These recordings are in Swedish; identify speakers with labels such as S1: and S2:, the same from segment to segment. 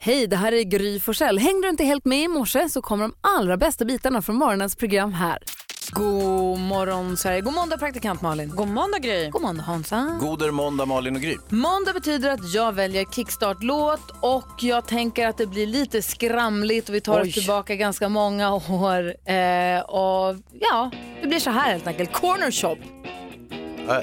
S1: Hej, det här är Gry Forssell. Hängde du inte helt med i morse så kommer de allra bästa bitarna från morgonens program här. God morgon Sverige. God måndag praktikant Malin.
S2: God måndag Gry.
S1: God måndag Hansa.
S3: Goder måndag Malin och Gry.
S1: Måndag betyder att jag väljer kickstart-låt och jag tänker att det blir lite skramligt och vi tar
S2: Oj.
S1: oss tillbaka ganska många år. Eh, och ja, det blir så här helt enkelt. Corner shop.
S3: Äh,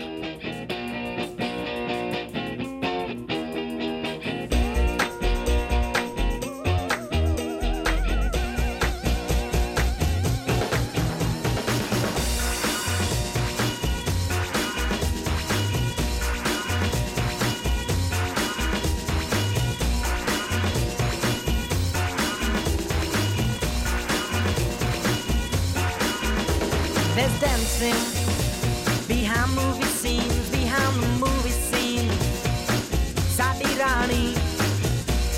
S4: There's dancing behind movie scenes, behind the movie scene. Sadi Rani,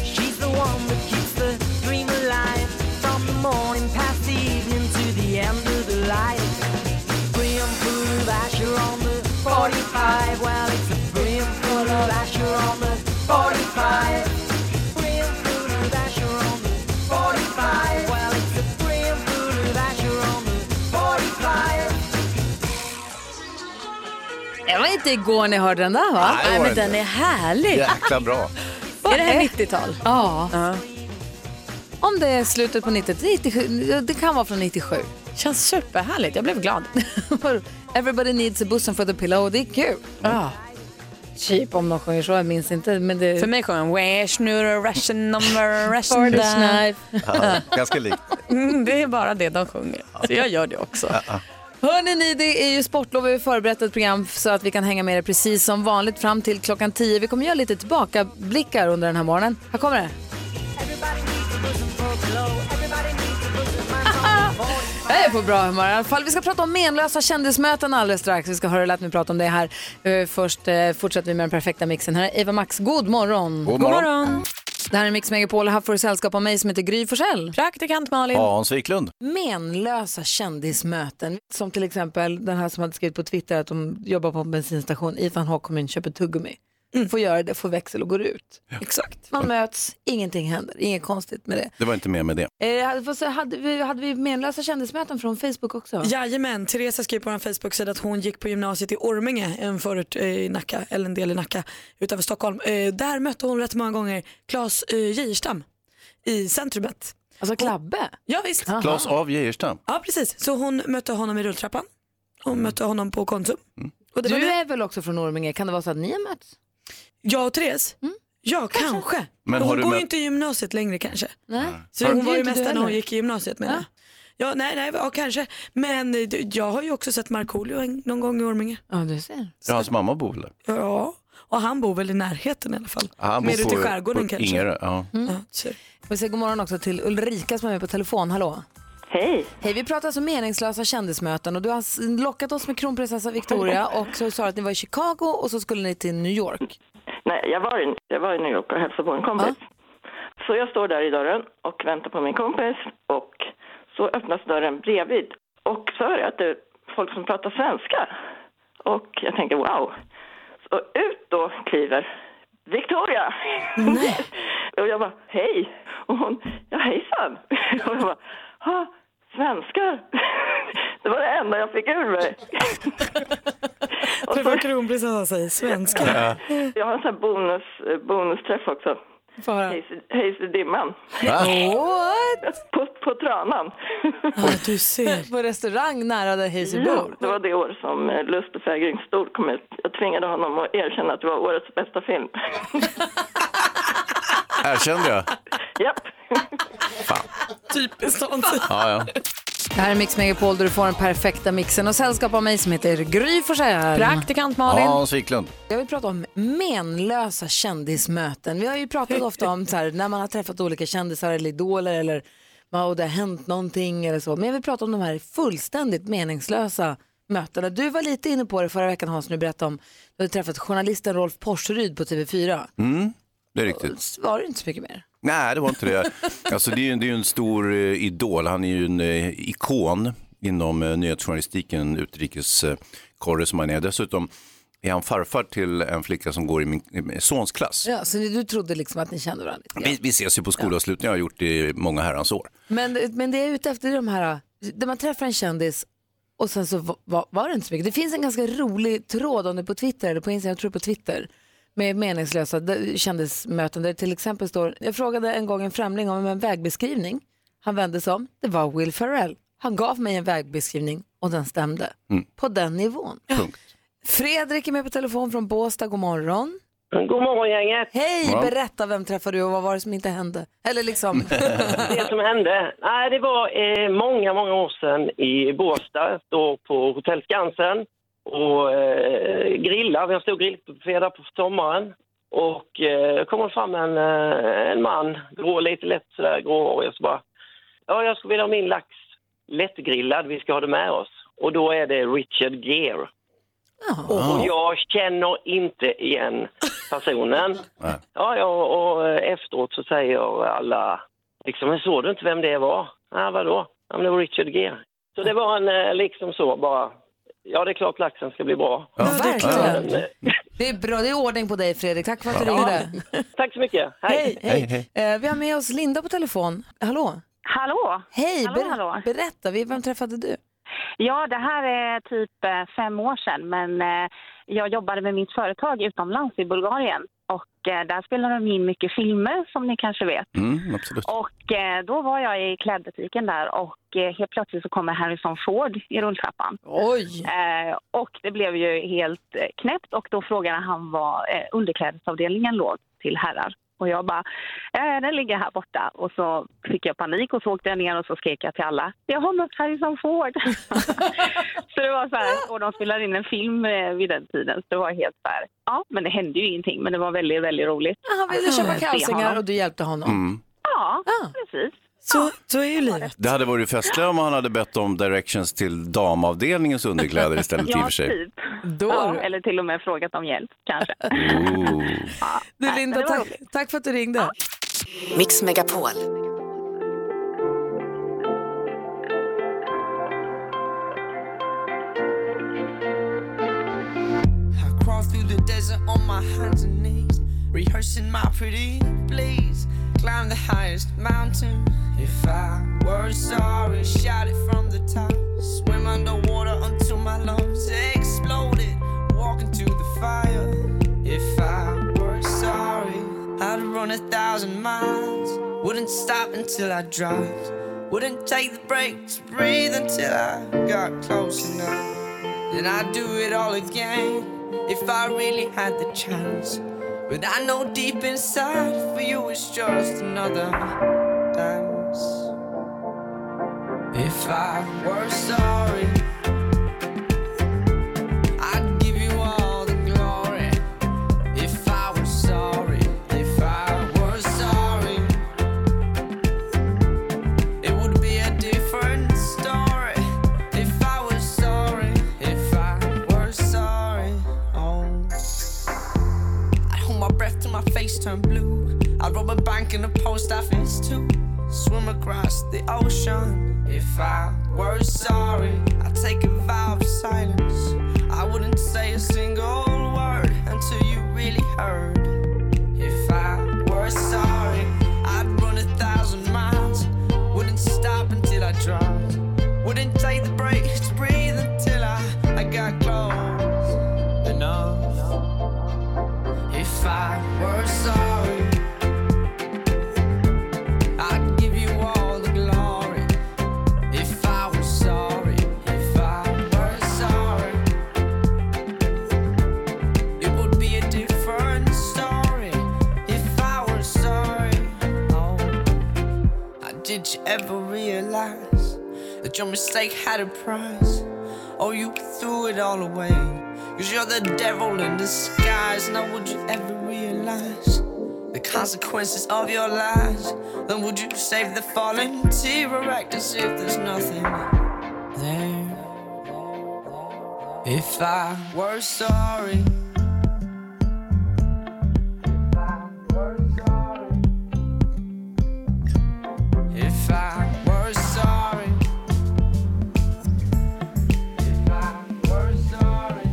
S4: she's the one that keeps the dream alive from the morning past the evening to the end of the light. Brim full of Asher on the 45. Well, it's a brim full of Asher on the 45. Brim full of Asher on the 45. Well, it's a brim full of Asher on the 45.
S1: Det var inte igår ni hörde den där va?
S3: Nej, det var
S2: Ah, men
S3: det
S2: den
S3: inte.
S2: är härlig.
S3: Jäkla bra.
S2: Är det här 90-tal?
S1: Ja.
S2: Ja.
S1: Om det är slutet på 90, 97, det kan vara från 97.
S2: Känns superhärligt. Jag blev glad.
S1: Everybody needs a bosom for the pillow, det är kul.
S2: Ja.
S1: Cheap om de sjunger så, jag minns inte. Men det...
S2: För mig sjöng han Wesh nu Russian number Russian
S1: Barney
S2: da."
S1: Knife.
S3: Ja, ganska likt.
S2: Mm, Det är bara det de sjunger. Så jag gör det också.
S1: Hörrni, ni, det är ju sportlov. Vi har förberett ett program så att vi kan hänga med er precis som vanligt fram till klockan 10. Vi kommer göra lite tillbakablickar under den här morgonen. Här kommer det.
S4: Everybody needs a bosom for a pillow. Everybody needs a bosom man on the 45.
S1: Jag är på bra humör i alla fall. Vi ska prata om menlösa kändismöten alldeles strax. Vi ska höra lätt mig prata om det här. Eh, Först eh, fortsätter vi med den perfekta mixen. Här är Eva Max. God morgon.
S3: God morgon.
S1: Det här är Mix Megapol och här får du sällskap av mig som heter Gry Forssell.
S2: Praktikant Malin.
S3: Hans Wiklund.
S1: Menlösa kändismöten. Som till exempel den här som hade skrivit på Twitter att de jobbar på en bensinstation i Van Hag kommun, köper tuggummi. Får göra det, får växel och går ut.
S2: Exakt.
S1: Man möts, ingenting händer, inget konstigt med det.
S3: Det var inte mer med det.
S1: Eh, vad säger- hade, vi, hade vi menlösa kändismöten från Facebook också?
S5: Jajamän, Therese skrev på vår Facebook-sida att hon gick på gymnasiet i Orminge, en förort eh, i Nacka, eller en del i Nacka utanför Stockholm. Eh, Där mötte hon rätt många gånger Claes eh, Geijerstam i centrumet.
S1: Alltså Klabbe?
S5: Ja visst,
S3: Claes av Geijerstam.
S5: ja precis. Så hon mötte honom i rulltrappan, hon mötte honom på Konsum. Och det var
S1: Mm.
S5: det.
S1: Du är väl också från Orminge? Kan det vara så att ni har mötts? Mm.
S5: Jag och Therese? Ja kanske.
S3: Men
S5: Men
S3: har
S5: hon
S3: du
S5: går
S3: mött-
S5: ju inte i gymnasiet längre kanske.
S1: Nej.
S5: Så
S1: Har-
S5: hon var
S1: Det är
S5: ju
S1: inte
S5: mest
S1: du
S5: där när
S1: heller.
S5: hon gick i gymnasiet menar jag. Ja, nej, nej, ja, kanske. Men eh, jag har ju också sett Markoolio en- någon gång i Orminge.
S1: Ja, du ser.
S3: Ja, hans mamma bor väl där?
S5: Ja, och han bor väl i närheten i alla fall.
S3: Ja, han bor
S5: Mer ute i
S3: på-
S5: skärgården
S3: på
S5: kanske.
S3: Ingarö, ja.
S5: Ja, så.
S1: Mm. Vi säger god morgon också till Ulrika som är med på telefon. Hallå. Hej. Hej, vi pratar alltså meningslösa kändismöten och du har s- lockat oss med kronprinsessa Victoria och så sa du att ni var i Chicago och så skulle ni till New York.
S6: Nej, jag var, i, jag var i New York och hälsade på en kompis. Så jag står där i dörren och väntar på min kompis och så öppnas dörren bredvid och så hör jag att det är folk som pratar svenska. Och jag tänker wow. Så ut då kliver Victoria! och jag bara hej! Och hon, ja hejsan! och jag bara, ha, svenskar! det var det enda jag fick ur mig. Och
S5: Träffa kronprinsessan säger svenska.
S6: jag har en sån här bonus, eh, bonusträff också. Hejs i- Hejs i dimman.
S3: Va?
S1: What?
S6: På, på Tranan.
S5: Ja, du ser.
S1: På restaurang nära där Hazy
S6: Ja,
S1: bor.
S6: det var det år som eh, Lust och fägringstol kom ut. Jag tvingade honom att erkänna att det var årets bästa film.
S3: Erkände jag?
S6: Japp.
S5: Typiskt sånt.
S3: Ja, ja.
S1: Det här är Mix Megapol där du får den perfekta mixen och sällskap av mig som heter Gry Forssell.
S2: Praktikant Malin.
S3: Hans Wiklund.
S1: Jag vill prata om menlösa kändismöten. Vi har ju pratat ofta om så här, när man har träffat olika kändisar eller idoler eller ja, och det har hänt någonting eller så. Men jag vill prata om de här fullständigt meningslösa mötena. Du var lite inne på det förra veckan Hans, när du berättade om du hade träffat journalisten Rolf Porseryd på TV4.
S3: Mm, Det är riktigt.
S1: Så var det inte så mycket mer.
S3: Nej, det var inte det. Alltså, det, är ju, det är ju en stor eh, idol. Han är ju en eh, ikon inom eh, nyhetsjournalistiken, utrikeskorre som han är. Dessutom är han farfar till en flicka som går i min i min sons klass.
S1: Ja, så ni- du trodde liksom att ni kände varandra lite grann.
S3: Vi, vi ses ju på skolavslutningar, jag har gjort det i många herrans år.
S1: Men, men det är ute efter de här, där man träffar en kändis och sen så va- va- var det inte så mycket. Det finns en ganska rolig tråd om det på Twitter, eller på Instagram, jag tror på Twitter, med meningslösa d- kändismöten där det till exempel står, jag frågade en gång en främling om en vägbeskrivning. Han vände sig om, det var Will Ferrell. Han gav mig en vägbeskrivning och den stämde.
S4: Mm.
S1: På den nivån.
S3: Punkt.
S1: Fredrik är med på telefon från Båstad, god morgon.
S7: Mm, God morgon gänget.
S1: Hej,
S3: Morgon.
S1: berätta vem träffade du och vad var det som inte hände? Eller liksom,
S7: Det som hände, nej det var eh, många, många år sedan i Båstad, då på Hotell Skansen och eh, grillade. Vi har stor grillbuffé där på sommaren. Och eh, kommer fram en, eh, en man, grå, lite lätt sådär gråhårig och så bara, ja jag skulle vilja ha min lax lättgrillad, vi ska ha det med oss. Och då är det Richard Gere.
S1: ja.
S7: Och jag känner inte igen personen.
S3: Nej.
S7: Ja, ja, och eh, efteråt så säger alla, liksom, "Men såg du inte vem det var? Ja, vadå? Ja, men det var Richard Gere. Så det var en, eh, liksom så bara, ja det är klart laxen ska bli bra.
S3: Ja.
S1: verkligen.
S7: Men, eh,
S1: Det är bra, det är ordning på dig Fredrik. Tack för att du ringde.
S7: Tack så mycket, hej!
S1: Hej, hej. Eh, vi har med oss Linda på telefon. Hallå?
S8: Hallå!
S1: Hej,
S8: Hallå,
S1: ber-
S8: hallå.
S1: berätta, vi- vem träffade du?
S8: Ja, det här är typ eh, fem år sedan, men eh, jag jobbade med mitt företag utomlands i Bulgarien och eh, där spelar de in mycket filmer som ni kanske vet.
S3: Mm, absolut.
S8: Och eh, då var jag i klädbutiken där och eh, helt plötsligt så kommer Harrison Ford i rulltrappan.
S1: Oj!
S8: Eh, och det blev ju helt eh, knäppt och då frågade han var eh, underklädesavdelningen låg till herrar. Och jag bara, eh, den ligger här borta. Och så fick jag panik och så åkte jag ner och så skrek jag till alla, jag har mött Harrison Ford. så det var så här, och de spelade in en film eh, vid den tiden. Så det var helt så här, ja men det hände ju ingenting men det var väldigt, väldigt roligt.
S1: Han ville köpa
S8: se
S1: kalsingar
S8: honom.
S1: och du hjälpte honom.
S3: Mm.
S8: Ja,
S1: Ah.
S8: precis.
S9: Så, så är ju livet.
S3: Det hade varit festligare om han hade bett om directions till damavdelningens underkläder istället i och
S8: Ja,
S3: för sig.
S8: typ.
S1: Då.
S8: Ja, eller till och med frågat om hjälp kanske.
S3: Ooh.
S1: Du Linda,
S8: det var
S1: tack, tack för att du ringde.
S10: Mix Megapol.
S11: I crawl through the desert on my hands and knees, rehearsing my pretty please. Climb the highest mountain. If I were sorry, shout it from the top. Swim underwater until my lungs exploded. Walk into the fire. If I were sorry, I'd run a thousand miles. Wouldn't stop until I dropped. Wouldn't take the break to breathe until I got close enough. Then I'd do it all again if I really had the chance. But I know deep inside for you it's just another dance. If I were sorry, I'd give you all the glory. If I were sorry, if I were sorry, it would be a different story if I was sorry, if I were sorry. Oh. I hold my breath till my face turn blue. I rob a bank in a post office too. Swim across the ocean. If I were sorry, I'd take a vow of silence. I wouldn't say a single word until you really heard. If I were sorry, I'd run a thousand miles. Wouldn't stop until I dropped. Wouldn't take the break to breathe until I, I got close enough. If I were sorry, I'd give you all the glory. If I were sorry, if I were sorry, it would be a different story. If I were sorry, oh. Now, Oh, Did you ever realize that your mistake had a price? Oh, you threw it all away. Cause you're the devil in disguise. Now, would you ever realize the consequences of your lies? Then, would you save the fallen T-Rex as if there's nothing there? If I were sorry. If I were sorry. If I were sorry.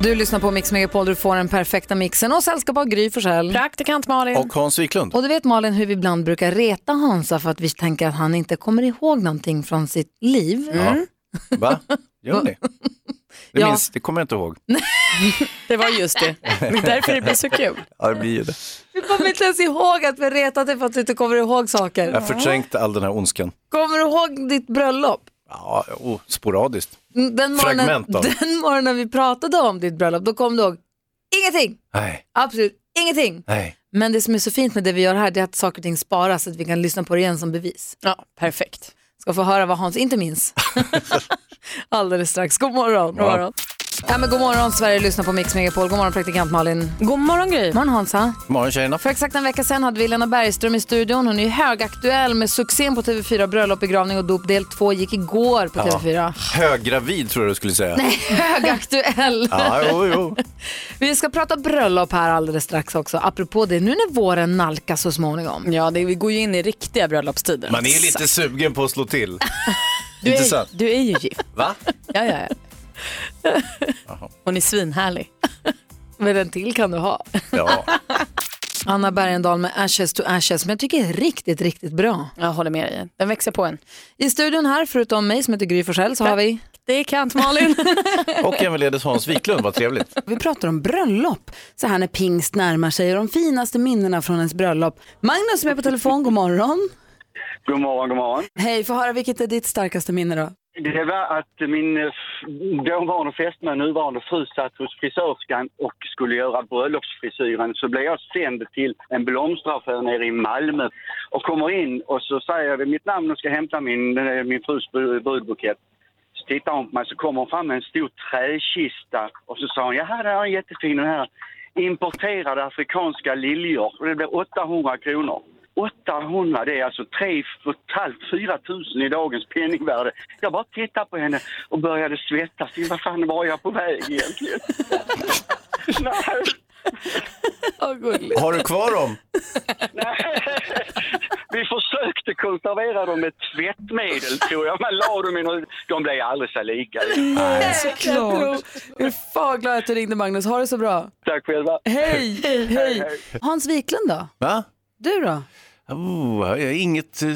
S1: Du lyssnar på Mix Megapol, du får den perfekta mixen och sällskap av Gry Forssell.
S12: Praktikant Malin.
S3: Och Hans Wiklund.
S1: Och du vet Malin hur vi ibland brukar reta Hansa för att vi tänker att han inte kommer ihåg någonting från sitt liv. Mm.
S8: Mm.
S3: Ja. Va? Gör ni? Det,
S1: Ja.
S3: minns, det kommer jag inte ihåg.
S12: Det var just det. Det är därför det blir så kul.
S3: Ja, det blir ju det.
S1: Du kommer inte ens ihåg att vi retat dig för att du inte kommer ihåg saker.
S3: Jag har förträngt all den här ondskan.
S1: Kommer du ihåg ditt bröllop?
S3: Ja, oh, sporadiskt.
S1: Den morgonen,
S3: Fragment av.
S1: den morgonen vi pratade om ditt bröllop, då kom du ihåg ingenting.
S3: Nej,
S1: Absolut ingenting.
S3: nej.
S1: Men det som är så fint med det vi gör här det är att saker och ting sparas så att vi kan lyssna på det igen som bevis.
S12: Ja, perfekt.
S1: Ska få höra vad Hans inte minns. Alldeles strax. God morgon. God
S3: morgon.
S1: Ja, men god morgon Sverige, lyssna på Mix Megapol. God morgon praktikant Malin. God
S12: God morgon Gry.
S1: morgon Hansa.
S3: Morgon tjejerna.
S1: För exakt en vecka sedan hade vi Lena Bergström i studion. Hon är ju högaktuell med succén på TV4 Bröllop, begravning och dop. Del 2 gick igår på TV4.
S3: Höggravid tror jag du skulle säga. Nej.
S1: Högaktuell.
S3: Ja, jo, jo.
S1: Vi ska prata bröllop här alldeles strax också. Apropå det, nu när våren nalkas så småningom.
S12: Ja, det, vi går ju in i riktiga bröllopstider.
S3: Man är lite sugen på att slå till.
S12: du
S3: intressant.
S12: är, du är ju gift.
S3: Va?
S12: Ja, ja, ja. Hon är svinhärlig.
S1: Men en till kan du ha.
S3: Ja.
S1: Anna Bergendahl med Ashes to Ashes, men jag tycker det är riktigt, riktigt bra.
S12: Jag håller med dig. Den växer på en.
S1: I studion här, förutom mig som heter Gry Forssell, så har vi...
S12: Det är kant Malin.
S3: Och ävenledes Hans Wiklund, vad trevligt.
S1: Vi pratar om bröllop, så här när pingst närmar sig och de finaste minnena från ens bröllop. Magnus som är på telefon, god morgon.
S13: God morgon, god morgon.
S1: Hej, få höra vilket är ditt starkaste minne då?
S13: Det var att min eh, f- dåvarande fästmö, nuvarande fru, satt hos frisörskan och skulle göra bröllopsfrisyren. Så blev jag sänd till en blomsteraffär nere i Malmö och kommer in och så säger jag mitt namn och ska hämta min, eh, min frus bru- brudbukett. Så tittar hon på mig så kommer hon fram med en stor träkista och så sa hon, jaha den här är jättefin den här. Importerade afrikanska liljor och det blev 800 kronor. 800, det är alltså 3 4 tusen i dagens penningvärde. Jag bara tittade på henne och började svettas. Vad fan var jag på väg egentligen? Nej,
S3: Har du kvar dem?
S13: vi försökte konservera dem med tvättmedel tror jag. Man la dem i något... De blev aldrig så lika.
S1: Såklart. Jag är fan glad att du ringde Magnus, ha det så bra.
S13: Tack själva.
S1: Hej, hej, hej. Hans Wiklund då?
S3: Va?
S1: Du då?
S3: Oh, jag har inget, eh,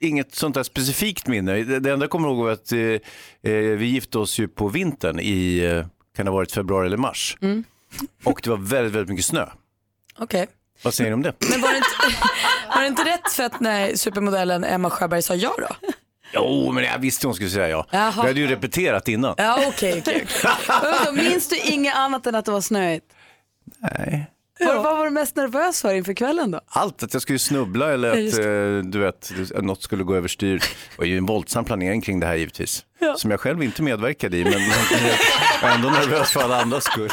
S3: inget sånt där specifikt minne. Det det enda jag kommer ihåg var att eh, eh, vi gifte oss ju på vintern i, eh, kan det ha varit februari eller mars.
S12: Mm.
S3: Och det var väldigt, väldigt mycket snö.
S5: Okej.
S3: Vad säger ni om det?
S5: Men var det, inte, var det inte rätt för att när supermodellen Emma Sjöberg sa ja då?
S3: Jo, men jag visste hon skulle säga ja.
S5: Jaha.
S3: Vi hade ju repeterat innan.
S5: Ja okej. okej.
S1: Vadå, Minns du inget annat än att det var snöigt?
S3: Nej.
S1: Vad, vad var du mest nervös för inför kvällen då?
S3: Allt, att jag skulle snubbla eller att
S5: just
S3: eh, du vet, att något skulle gå överstyr. Det var ju en våldsam planering kring det här givetvis. Som jag själv inte medverkade i, men liksom, jag är ändå nervös för alla andras skull.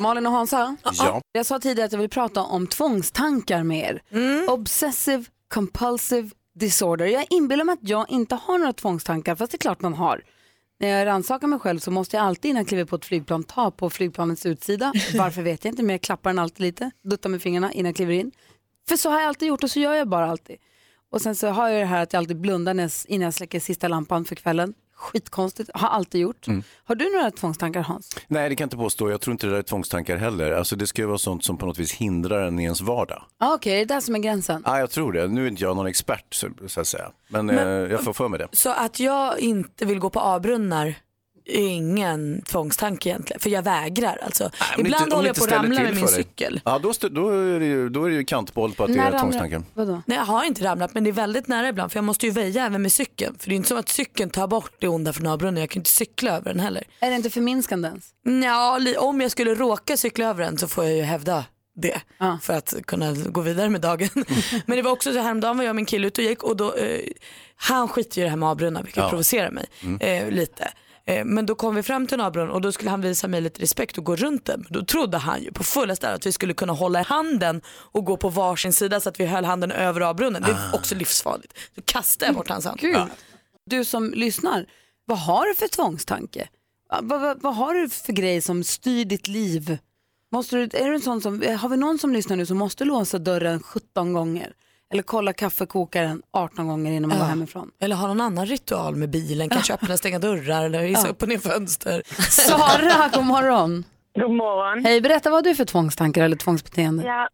S1: Malin och Hansa?
S3: Ja.
S1: Jag sa tidigare att jag vill prata om tvångstankar med er. Obsessive compulsive disorder. Jag inbillar mig att jag inte har några tvångstankar, fast det är klart man har. När jag rannsakar mig själv så måste jag alltid innan jag kliver på ett flygplan ta på flygplanets utsida. Varför vet jag inte, men jag klappar den alltid lite, duttar med fingrarna innan jag kliver in. För så har jag alltid gjort och så gör jag bara alltid. Och sen så har jag det här att jag alltid blundar när jag, innan jag släcker sista lampan för kvällen. Skitkonstigt, har alltid gjort. Har du några tvångstankar Hans?
S3: Nej, det kan jag inte påstå. Jag tror inte det där är tvångstankar heller. Alltså, det ska ju vara sånt som på något vis hindrar en i ens vardag.
S1: Ah, Okej, det är det där som är gränsen.
S3: Ja, jag tror det. Nu är inte jag någon expert, så, så att säga. Men, eh, jag får för mig det.
S5: Så att jag inte vill gå på A-brunnar är ingen tvångstanke egentligen. För jag vägrar alltså.
S3: Men
S5: Ibland
S3: inte- om
S5: håller jag
S3: inte
S5: på att
S3: ställer
S5: ramla
S3: till
S5: med min
S3: för dig.
S5: cykel.
S3: Ja, då, stö- då, är det ju, då är det ju kantboll på att det är
S1: ramlar-
S3: tvångstanken.
S1: Vadå?
S5: Nej jag har inte ramlat men det är väldigt nära ibland för jag måste ju väja även med cykeln. För det är inte som att cykeln tar bort det onda från A-brunnen. Jag kan ju inte cykla över den heller.
S1: Är det inte förminskande ens?
S5: Ja, li- om jag skulle råka cykla över den så får jag ju hävda det för att kunna gå vidare med dagen. Men det var också så häromdagen var jag och min kille ute och gick och då, eh, han skiter ju i det här med avbrunnar vilket provocerar mig eh, lite. Eh, men då kom vi fram till en avbrunn och då skulle han visa mig lite respekt och gå runt den. Då trodde han ju på fullaste allvar att vi skulle kunna hålla i handen och gå på varsin sida så att vi höll handen över avbrunnen. Det är också livsfarligt. Då kastade jag bort hans hand.
S1: Gud. Du som lyssnar, vad har du för tvångstanke? Va- va- va- vad har du för grej som styr ditt liv? Måste du, är du en sån som, har vi någon som lyssnar nu som måste låsa dörren 17 gånger? Eller kolla kaffekokaren 18 gånger innan man går hemifrån?
S5: Eller ha någon annan ritual med bilen, kanske öppna och stänga dörrar eller hissa upp och ner fönster.
S1: Sara, god morgon.
S14: God morgon.
S1: Hej, berätta vad har du för tvångstankar eller tvångsbeteende?
S14: Ja,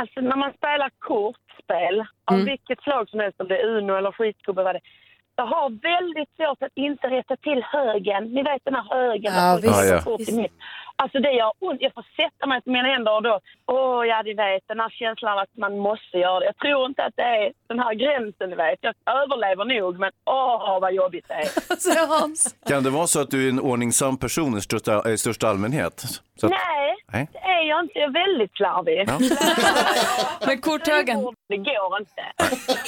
S14: alltså när man spelar kortspel, av
S1: Mm.
S14: vilket slag som helst, om det är Uno eller skitgubbe, vad det är, jag har väldigt svårt att inte rätta till högen. Ni vet den här högen.
S1: Ja,
S14: där folk
S1: visst.
S14: har
S1: Ja, ja.
S14: kort i mitt. Alltså det gör ont. Jag får sätta mig på mina händer och då, åh ja, ni vet den här känslan av att man måste göra det. Jag tror inte att det är den här gränsen, ni vet. Jag överlever nog, men åh vad jobbigt det är.
S1: Så Hans.
S3: Kan det vara så att du är en ordningsam person i största, eh, i största allmänhet? Så att,
S14: Nej,
S3: Nej.
S14: det är jag inte. Jag är väldigt slarvig.
S3: Ja.
S1: Men korthögen.
S14: Det går inte.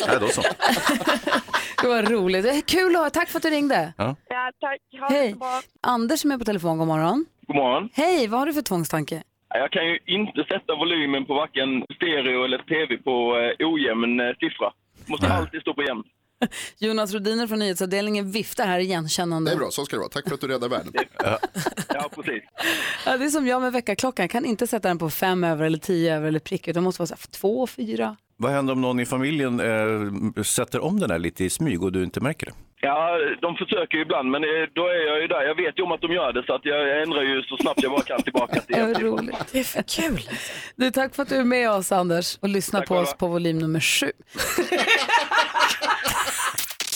S3: nej, då så.
S1: Det var roligt. Det är Kul att ha. Tack för att du ringde.
S3: Ja.
S14: Ja, tack. Ha
S1: Hej. Anders som är på telefon, god morgon.
S15: God morgon.
S1: Hej, vad har du för tvångstanke?
S15: Jag kan ju inte sätta volymen på varken stereo eller tv på eh, ojämn eh, siffra. Måste alltid stå på jämn.
S1: Jonas Rodiner från nyhetsavdelningen viftar här igenkännande.
S16: Det är bra, så ska det vara. Tack för att du räddar världen.
S15: Ja, precis.
S1: Ja, det är som jag med väckarklockan, jag kan inte sätta den på fem över eller tio över eller prick, utan måste vara så här, två, fyra.
S3: Vad händer om någon i familjen eh, sätter om den här lite i smyg och du inte märker det?
S15: Ja, de försöker ju ibland, men eh, då är jag ju där. Jag vet ju om att de gör det, så att jag ändrar ju så snabbt jag bara kan tillbaka till jämn siffra.
S1: Vad roligt. Det är för kul. Du, tack för att du är med oss Anders och lyssna på oss på volym nummer sju.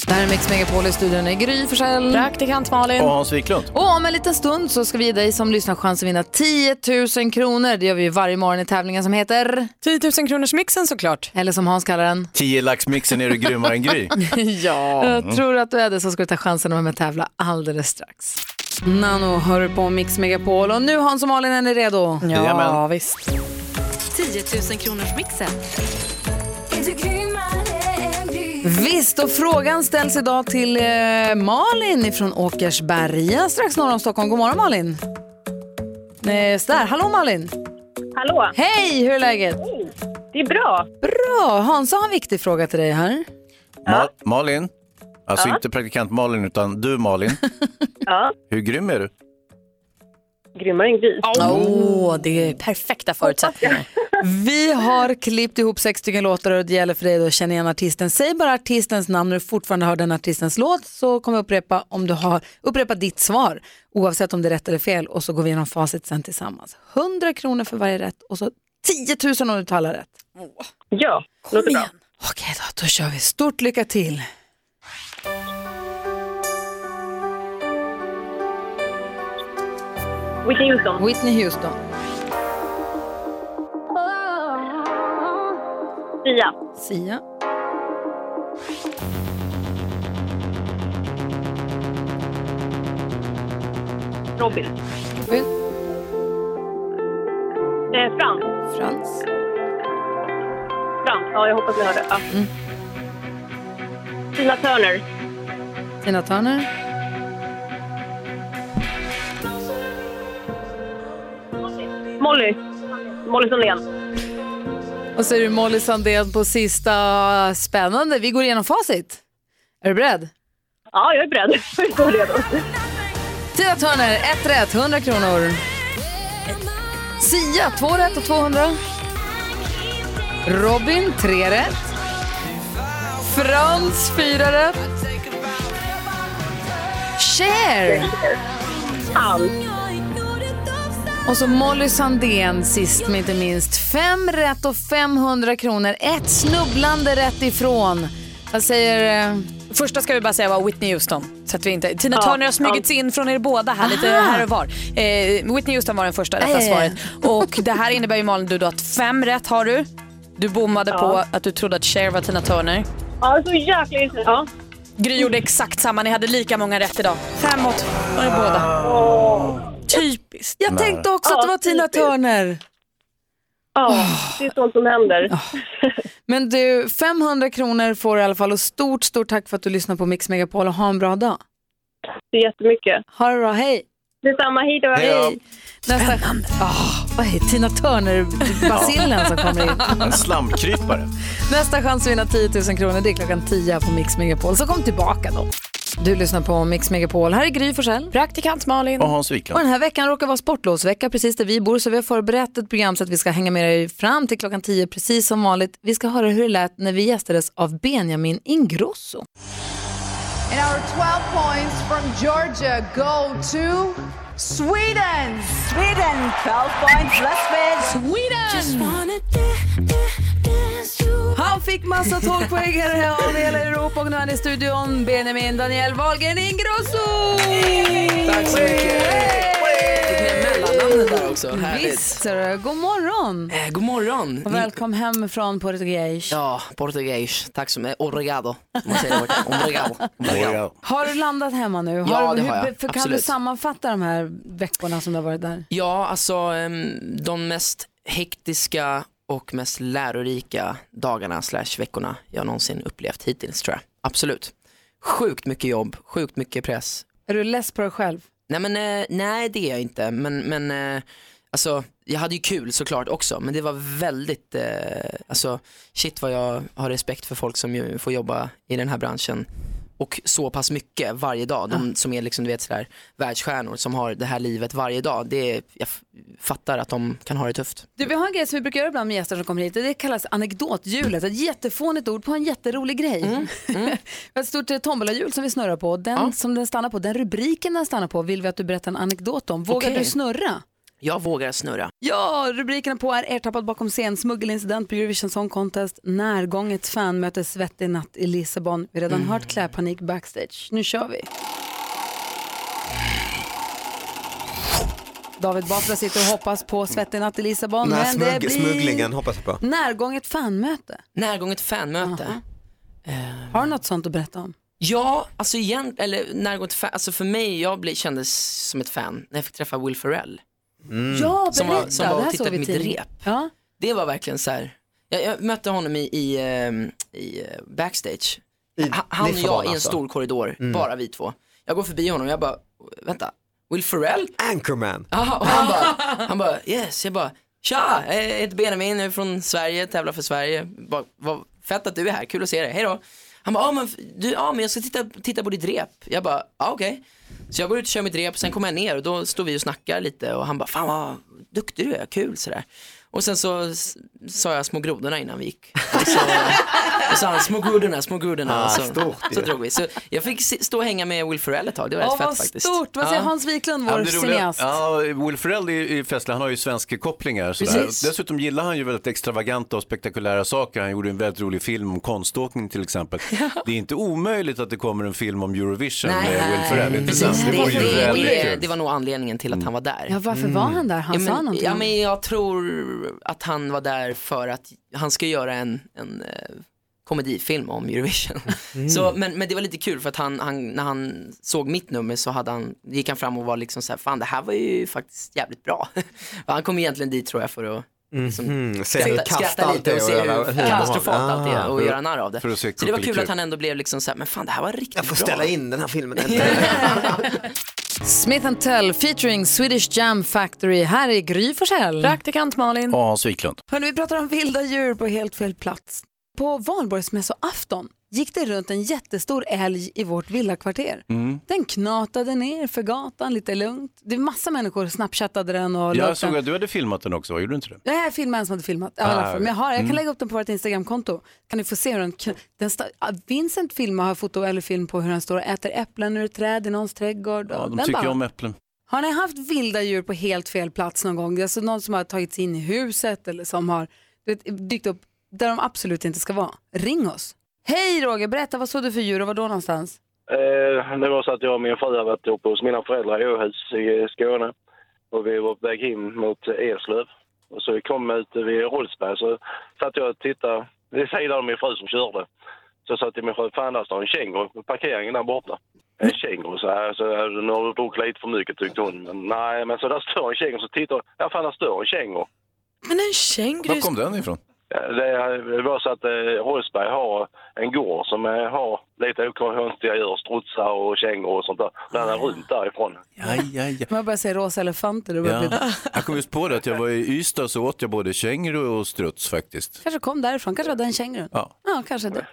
S1: Det här är Mix Megapol i studion i Gry Forssell. Praktikant Malin.
S3: Och Hans Wiklund?
S1: Och om en liten stund så ska vi ge dig som lyssnar chans att vinna 10 000 kronor. Det gör vi ju varje morgon i tävlingen som heter... 10 000 kronors mixen såklart. Eller som Hans kallar den.
S3: Tio laxmixen är du grymmare än Gry.
S1: ja.
S3: Mm.
S1: Jag tror att du är det så ska du ta chansen att vara med och tävla alldeles strax. Nano hör på Mix Megapol och nu Hans och Malin är ni redo?
S2: Ja, Jajamän.
S1: visst.
S4: 10 000 kronors mixen.
S1: Visst, och frågan ställs idag till eh, Malin från Åkersberga strax norr om Stockholm. God morgon Malin! Nej, så där. Hallå Malin!
S14: Hallå!
S1: Hej, hur är läget?
S14: Det är bra.
S1: Bra! Hansa har en viktig fråga till dig här.
S3: Ma- Malin? Alltså
S1: Ja.
S3: inte praktikant Malin, utan du Malin.
S14: Ja.
S3: Hur grym är du?
S14: Grymmare än gris.
S2: Åh, mm. det är perfekta förutsättningar.
S1: Vi har klippt ihop sex stycken låtar och det gäller för dig då att känna igen artisten. Säg bara artistens namn när du fortfarande hör den artistens låt så kommer jag upprepa, om du har, upprepa ditt svar oavsett om det är rätt eller fel och så går vi igenom facit sen tillsammans. 100 kronor för varje rätt och så 10 000 om du talar rätt.
S14: Ja, låter bra.
S1: Okej då, då kör vi. Stort lycka till.
S14: Whitney Houston.
S1: Whitney Houston.
S14: Sia.
S1: Sia.
S14: Robin.
S1: Robin.
S14: Eh, Frans.
S1: Frans.
S14: Frans. Ja, jag hoppas ni hörde. Ja.
S1: Mm.
S14: Tina Turner.
S1: Tina Turner.
S14: Molly. Molly Sandén.
S1: Och så är det Molly Sandén på sista. Spännande. Vi går igenom facit. Är du beredd?
S14: Ja, jag är beredd. Jag är redo.
S1: Tina Turner, ett rätt, 100 kronor. Sia, två rätt och 200. Robin, tre rätt. Frans, fyra rätt. Cher. Och så Molly Sandén, sist men inte minst. Fem rätt och 500 kronor. Ett snubblande rätt ifrån. Vad säger... eh,
S2: Första ska vi bara säga var Whitney Houston. Så att vi inte, Tina
S1: Ja,
S2: Turner har smugits in från er båda här lite
S1: Aha.
S2: här och var. Eh, Whitney Houston var den första rätta
S1: Ja, ja, ja.
S2: svaret. Och det här innebär ju Malin du då att fem rätt har du. Du bommade
S14: Ja.
S2: på att du trodde att Cher var Tina Turner.
S14: Ja, så jäkla intressant. Ja.
S2: Gry gjorde exakt samma, ni hade lika många rätt idag. Framåt var det båda. Typiskt.
S1: Jag tänkte också att det var Tina Turner.
S14: Ja, det är sånt som händer.
S1: Men du, 500 kronor får du i alla fall och stort, stort tack för att du lyssnar på Mix Megapol och ha en bra dag.
S14: Det är jättemycket.
S1: Ha det bra, hej!
S14: Detsamma, hej då.
S1: Hej. Nästa... Oh, vad är Tina Turner-basilen som kommer in?
S3: En slamkrypare.
S1: Nästa chans att vinna 10 000 kronor det är klockan 10 här på Mix Megapol, så kom tillbaka då. Du lyssnar på Mix Megapol, här är Gry Forssell.
S2: Praktikant Malin.
S3: Och Hans
S1: Och den
S3: Wiklund.
S1: här veckan råkar vara sportlovsvecka precis där vi bor så vi har förberett ett program så att vi ska hänga med er fram till klockan 10 precis som vanligt. Vi ska höra hur det lät när vi gästades av Benjamin Ingrosso.
S17: And our 12 points from Georgia go to Sweden. Sweden.
S4: 10, 12 points, let's bid.
S1: Han fick massa tolvpoängare av hela Europa och nu är han i studion. Benjamin Daniel Wahlgren Ingrosso!
S18: Tack så mycket. Fick med mellannamnet där också. Härligt.
S1: Visst, ser du. god morgon!
S18: Eh, god morgon.
S1: Och välkommen hem från Portugais.
S18: Ja, portugis. Tack så mycket. Obrigado. om man säger det borta. Obrigado. Obrigado.
S1: Har du landat hemma nu? Har,
S18: Ja,
S1: du-
S18: det har jag.
S1: För, kan du
S18: Absolut.
S1: sammanfatta de här veckorna som du har varit där?
S18: Ja, alltså ehm, de mest hektiska och mest lärorika dagarna slash veckorna jag någonsin upplevt hittills tror jag. Absolut. Sjukt mycket jobb, sjukt mycket press,
S1: Är du less på dig själv?
S18: Nej, men, eh, nej det är jag inte. Men, men eh, alltså, jag hade ju kul såklart också. Men det var väldigt, eh, alltså, shit vad jag har respekt för folk som ju får jobba i den här branschen. Och så pass mycket varje dag. De som är liksom, du vet, sådär, världsstjärnor som har det här livet varje dag. Det är, jag f- fattar att de kan ha det tufft.
S1: Du, vi har en grej som vi brukar göra ibland med gäster som kommer hit och det kallas anekdothjulet. Ett jättefånigt ord på en jätterolig grej. vi har ett stort eh, tombolahjul som vi snurrar på och den som den stannar på, den rubriken den stannar på vill vi att du berättar en anekdot om. Vågar
S18: Okej.
S1: du snurra?
S18: Jag vågar snurra.
S1: Ja, rubrikerna på är ertappad bakom scen, smuggelincident på Eurovision Song Contest, närgånget fanmöte, svettig natt i Lissabon. Vi har redan
S19: Mm.
S1: hört klädpanik backstage. Nu kör vi. David Batra sitter och hoppas på svettig natt i Lissabon.
S19: Den här
S1: men det
S19: smugg-
S1: blir...
S19: smugglingen hoppas jag på.
S1: Närgånget fanmöte.
S18: Närgånget fanmöte.
S1: Har du något sånt att berätta om?
S18: Ja, alltså igen, eller närgående fan, alltså för mig, jag blev, kändes som ett fan när jag fick träffa Will Ferrell.
S1: Mm. Ja,
S18: Som var,
S1: berätta,
S18: som var
S1: det
S18: och
S1: här
S18: tittade
S1: såg
S18: på
S1: vi
S18: mitt
S1: tidigt.
S18: rep.
S1: Ja.
S18: Det var verkligen så här, jag, jag mötte honom i, i, ehm, i eh, backstage. Ha- han och
S19: Lissabon
S18: jag i en
S19: alltså.
S18: stor korridor,
S19: Mm.
S18: bara vi två. Jag går förbi honom och jag bara, vänta, Will Ferrell?
S19: Anchorman.
S18: Aha, och han bara, han bara, yes, jag bara, tja, jag heter Benjamin, jag är från Sverige, tävlar för Sverige, bara, vad fett att du är här, kul att se dig, hej då. Han bara, ja men, du, ja, men jag ska titta, titta på ditt rep. Jag bara, ja okej. Så jag går ut och kör mitt rep, sen kommer jag ner och då står vi och snackar lite och han bara, fan vad duktig du är, kul sådär. Och sen så s- sa jag små grodorna innan vi gick. Och så, och så han, små grodorna, små grodorna.
S19: Ah,
S18: och så,
S19: stort ju.
S18: så drog vi. Så jag fick si- stå och hänga med Will Ferrell ett tag, det var rätt
S1: Åh, vad
S18: fett faktiskt.
S1: stort! Vad säger
S18: Ja.
S1: Hans Wiklund,
S3: Ja,
S1: vår
S3: men det roliga-
S1: cineast?
S3: Ja, Will Ferrell i i Fessler, han har ju svenska kopplingar. Sådär.
S1: Precis.
S3: Dessutom gillar han ju väldigt extravaganta och spektakulära saker. Han gjorde en väldigt rolig film om konståkning till exempel. Det är inte omöjligt att det kommer en film om Eurovision med Will Ferrell. Inte sant?
S18: Precis,
S3: Det vore ju
S18: det,
S3: väldigt
S18: det,
S3: kul.
S18: det var nog anledningen till att han var där.
S1: Ja, varför
S19: Mm.
S1: var han där? Han
S18: ja, men,
S1: sa någonting.
S18: Ja, men jag tror att han var där för att han ska göra en, en eh, komedifilm om Eurovision.
S1: Mm.
S18: Så, men, men det var lite kul för att han, han, när han såg mitt nummer så hade han, gick han fram och var liksom så här, fan det här var ju faktiskt jävligt bra. Och han kom egentligen dit tror jag för att
S19: Mhm, se hur
S18: skratta,
S19: kasst
S18: skratta
S19: allt
S18: Mm-hmm. lite
S19: är
S18: och
S19: och
S18: se
S19: göra-
S18: hur katastrofalt
S19: Ah.
S18: allt är och
S19: För-
S18: göra narr av det.
S19: för att se
S18: Så det var kul
S19: kuckelikul.
S18: att han ändå blev liksom så här, men fan det här var riktigt bra.
S19: Jag får ställa in den här filmen.
S1: Smith Tell featuring Swedish Jam Factory. Här är Gry Forssell. Praktikant Malin.
S3: Och Hans Wiklund.
S1: Hörrni, vi pratar om vilda djur på helt fel plats. På valborgsmässoafton gick det runt en jättestor älg i vårt villakvarter.
S3: Mm.
S1: Den knatade ner för gatan lite lugnt. Det var massa människor snapchattade den och la
S3: Jag
S1: upp den.
S3: såg att du hade filmat den också, gjorde du inte det?
S1: Nej, jag filmade en som hade filmat. Ja, i
S3: Ah,
S1: alla fall. Men jag, har, jag kan
S3: mm.
S1: lägga upp den på vårt Instagramkonto. Kan ni få se hur den... kn- den sta- ah, Vincent filmar, har foto eller film på hur han står och äter äpplen ur ett träd i någons trädgård.
S3: Ja,
S1: och
S3: de
S1: den
S3: tycker
S1: bara-
S3: ju om äpplen.
S1: Har ni haft vilda djur på helt fel plats någon gång? Alltså någon som har tagit sig in i huset eller som har du vet, dykt upp där de absolut inte ska vara. Ring oss. Hej Roger, berätta vad såg du för djur och var då någonstans?
S20: Eh, det var så att jag och min fru hade varit uppe hos mina föräldrar i Åhus i Skåne. Och vi var på väg hem mot Eslöv. Och så vi kom ut vid Rolfsberg så satt jag och tittade vid sidan av min fru som körde. Så jag sa till min fru, fan där står en känguru på parkeringen där borta. En känguru, så här, så här, nu har du druckit lite för mycket tyckte hon. Men, nej, men så där står en känguru, så tittar hon, ja fan där står en känguru.
S5: Men en känguru...
S3: den ifrån?
S20: Det var så att eh, Roseberg har en gård som eh, har lite konstiga djur, strutsar och kängor och sånt där. Den är runt därifrån.
S3: Ja, ja, ja.
S1: Man börjar säga rosa elefanter. Och börjar bli...
S3: Ja. Jag kom just på det att jag var i Ystad så åt jag både känguru och struts faktiskt.
S1: Kanske kom därifrån, kanske var den kängurun.
S3: Ja.
S1: ja, kanske det.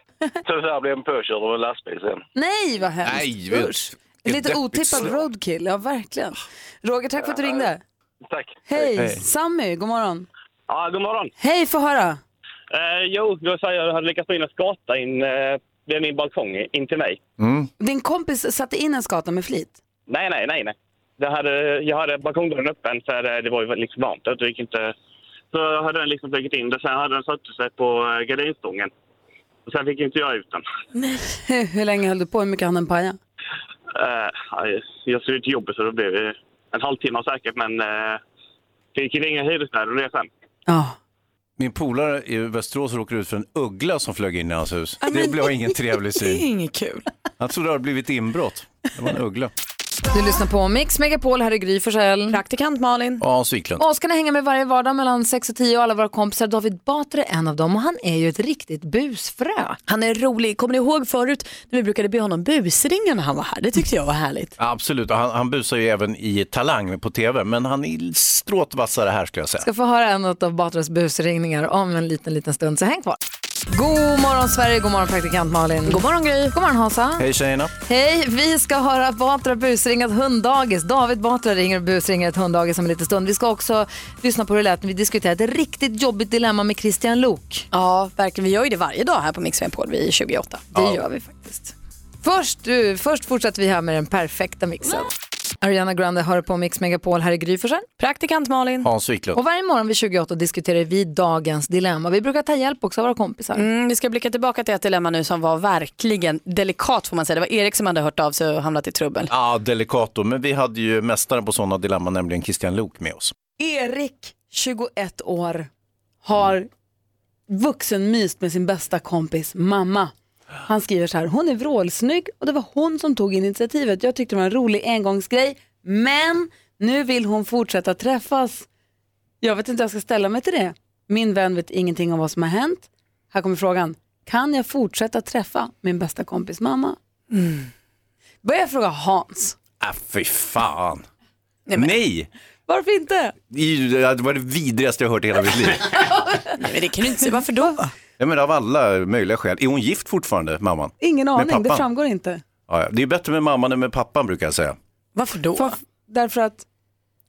S20: Så där blev en påkörd av en lastbil sen.
S1: Nej, vad hemskt.
S20: Nej, vet-
S1: Usch.
S20: vilket
S1: Lite
S20: deppigt
S1: otippad
S20: slag.
S1: roadkill, ja verkligen. Roger, tack för att du ringde.
S20: Tack.
S1: Hej, Sammy, god morgon.
S21: Ja, god morgon.
S1: Hej, få höra.
S21: Eh, jo, då säger jag att jag hade lyckats få in en skata in eh, vid min balkong, in till mig.
S1: Din kompis satte in en skata med flit.
S21: Nej, nej, nej, nej. det hade, jag hade balkongdörren öppen för det, det var ju liksom varmt ute. Det gick inte... Så jag hade den liksom flugit in. där. Sen hade den satt sig på eh, gardinstången. Och sen fick inte jag ut den.
S1: Hur länge höll du på? Hur mycket hann den paja?
S21: Eh, aj, jag skulle till jobbet så det blev eh, en halvtimme säkert men eh, fick ringa hyresvärden och det sen.
S3: Min polare i Västerås råkade ut för en uggla som flög in i hans hus. Det blev ingen trevlig syn.
S5: inget kul.
S3: Han trodde det hade blivit inbrott. Det var en uggla.
S1: Du lyssnar på Mix Megapol, här är Gry Forssell.
S5: Praktikant Malin.
S3: Hans Wiklund.
S1: Och ska ni hänga med varje vardag mellan 6 och 10 och alla våra kompisar. David Batra är en av dem och han är ju ett riktigt busfrö.
S5: Han är rolig. Kommer ni ihåg förut när vi brukade be honom busringa när han var här? Det tyckte jag var härligt.
S3: Absolut, och han, han busar ju även i Talang på tv, men han är stråtvassare här skulle jag säga.
S1: Ska få höra en av Batras busringningar om en liten, liten stund, så häng kvar. God morgon Sverige, god morgon praktikant Malin. God morgon Gry. God morgon Hansa.
S3: Hej tjejerna.
S1: Hej, vi ska höra Batra busringa ett hunddagis. David Batra ringer och busringer ett hunddagis om en liten stund. Vi ska också lyssna på hur det lät när vi diskuterade ett riktigt jobbigt dilemma med Christian Lok.
S5: Ja, verkligen. Vi gör ju det varje dag här på Mix Megapol. Vi är 28. Det gör vi faktiskt.
S1: Först, du, först fortsätter vi här med den perfekta mixen. Ariana Grande hör på Mix Megapol, här i Gry Forssell.
S5: Praktikant Malin.
S3: Hans Wiklund.
S1: Och varje morgon vid 28 diskuterar vi dagens dilemma. Vi brukar ta hjälp också av våra kompisar.
S5: Mm, vi ska blicka tillbaka till ett dilemma nu som var verkligen delikat får man säga. Det var Erik som hade hört av sig och hamnat i trubbel.
S3: Ja, Delicato, men vi hade ju mästaren på sådana dilemman, nämligen Christian Lok med oss.
S1: Erik, 21 år, har vuxenmyst med sin bästa kompis mamma. Han skriver så här, hon är vrålsnygg och det var hon som tog initiativet. Jag tyckte det var en rolig engångsgrej, men nu vill hon fortsätta träffas. Jag vet inte hur jag ska ställa mig till det. Min vän vet ingenting om vad som har hänt. Här kommer frågan, kan jag fortsätta träffa min bästa kompis mamma?
S5: Mm.
S1: Börjar jag fråga Hans,
S3: Äh, fy fan.
S1: Nej,
S3: Nej!
S1: men- varför inte?
S3: I- Det var det vidrigaste jag hört i hela mitt liv.
S5: Men det kan du inte säga. Varför då?
S3: Jag menar av alla möjliga skäl. Är hon gift fortfarande, mamman?
S1: Ingen
S3: Med
S1: aning, det
S3: pappan?
S1: framgår inte.
S3: Ja, ja. det är bättre med mamman än med pappan brukar jag säga.
S5: Varför då?
S1: därför att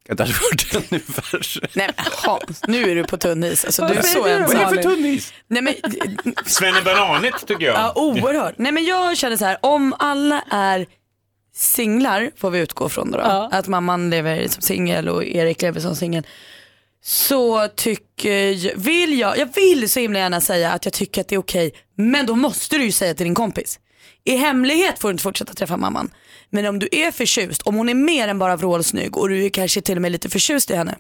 S3: Det hade varit ännu värre.
S5: Nej, men Hans, nu är du på tunn is. Alltså,
S3: Vad
S5: du är
S3: säger
S5: så
S3: du då?
S5: ensam.
S3: Vad är det för tunn is?
S5: Nej, men,
S22: Svennebananigt tycker jag.
S5: ja, oerhört. Nej, men jag känner så här, om alla är singlar, får vi utgå från det då, att mamman lever som singel och Erik lever som singel. Så tycker jag, vill jag, jag vill så himla gärna säga att jag tycker att det är okej, men då måste du ju säga till din kompis. I hemlighet får du inte fortsätta träffa mamman. Men om du är förtjust, om hon är mer än bara vrålsnygg och du är kanske till och med lite förtjust i henne.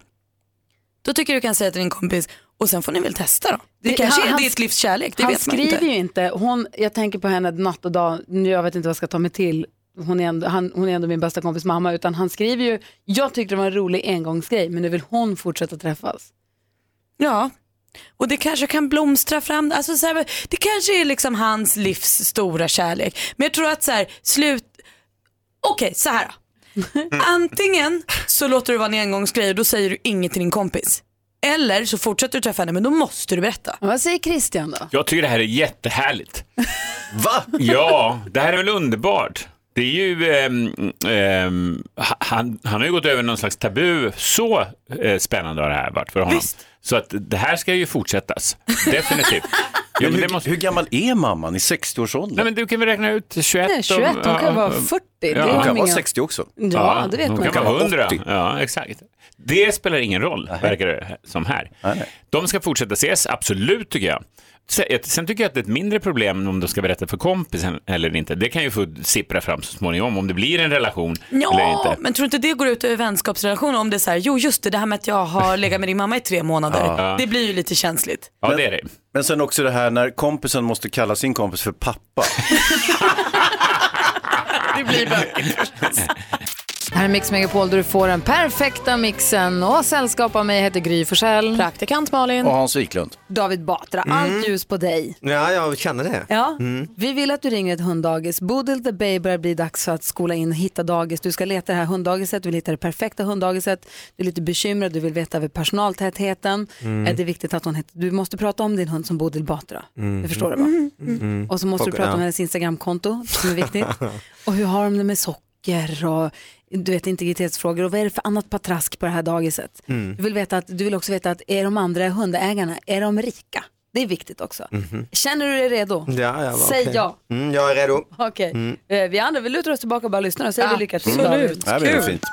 S5: Då tycker jag du kan säga till din kompis och sen får ni väl testa då. Det,
S1: Det-
S5: kanske
S1: han-
S5: är
S1: han-
S5: ditt livs kärlek, det
S1: han
S5: vet man
S1: skriver
S5: inte.
S1: ju inte, hon, jag tänker på henne natt och dag, nu jag vet inte vad jag ska ta mig till, hon är, ändå, han, hon är ändå min bästa kompis mamma, utan han skriver ju, jag tyckte det var en rolig engångsgrej, men nu vill hon fortsätta träffas.
S5: Ja, och det kanske kan blomstra fram. Alltså så här, det kanske är liksom hans livs stora kärlek. Men jag tror att så här, slut... Okej, så här då. Antingen så låter du vara en engångsgrej och då säger du inget till din kompis. Eller så fortsätter du träffa henne men då måste du berätta.
S1: Vad säger Christian då?
S22: Jag tycker det här är jättehärligt. Va? Ja, det här är väl underbart. Det är ju, ehm, ehm, ha- han, han har ju gått över någon slags tabu. Så eh, spännande har det här varit för honom. Så att det här ska ju fortsättas, definitivt. men hur,
S3: hur gammal är mamman i 60-årsåldern?
S22: Nej men du kan väl räkna ut 21.
S1: Nej, 21, hon kan vara 40, det är
S3: Hon kan
S1: inga-
S3: vara 60 också.
S1: Ja, det vet
S22: hon
S1: man
S22: kan
S1: inte.
S22: vara 100.
S3: 80.
S22: Ja, exakt. Det spelar ingen roll, verkar det som här. De ska fortsätta ses, absolut tycker jag. Se- ett- Sen tycker jag att det är ett mindre problem om de ska berätta för kompisen eller inte. Det kan ju få sippra fram så småningom om det blir en relation eller
S5: Ja,
S22: inte.
S5: men tror du inte det går ut över vänskapsrelationer om det är så här, jo just det, det här med att jag har legat med din mamma i tre månader.
S3: Ja.
S5: Det blir ju lite känsligt.
S22: Ja, det är det.
S3: Men sen också det här när kompisen måste kalla sin kompis för pappa.
S5: Det blir bökigt.
S1: Här är Mix Megapol där du får den perfekta mixen och sällskap av mig heter Gry Forssell.
S5: Praktikant Malin.
S3: Och Hans Mm. Wiklund.
S1: David Batra, allt ljus på dig.
S19: Ja, jag känner det.
S1: Ja,
S19: Mm.
S1: vi vill att du ringer ett hunddagis. Bodil the Bay börjar bli dags för att skola in och hitta dagis. Du ska leta det här hunddagiset, du vill hitta det perfekta hunddagiset. Du är lite bekymrad, du vill veta över personaltätheten.
S19: Mm.
S1: Eh, Det är viktigt att hon heter, du måste prata om din hund som Bodil Batra.
S19: Mm.
S1: Du förstår det va?
S19: Mm. Mm.
S1: Och så måste du
S19: Folk-
S1: prata
S19: ja.
S1: om hennes Instagramkonto som är viktigt. och hur har de det med socker och du vet integritetsfrågor och vad är det för annat patrask på det här dagiset?
S4: Mm.
S1: Du, vill veta att, du vill också veta att är de andra hundägarna, är de rika? Det är viktigt också.
S19: Mhm.
S1: Känner du dig redo?
S19: Ja, ja, va,
S1: Säg
S19: okej.
S1: ja.
S19: Mm, jag är redo.
S1: Okej,
S19: Mm.
S1: Eh, vi andra vi lutar oss tillbaka och bara lyssnar och säger vi lycka till.
S19: Mm.
S1: David.
S19: Ja, det blir Kul. fint.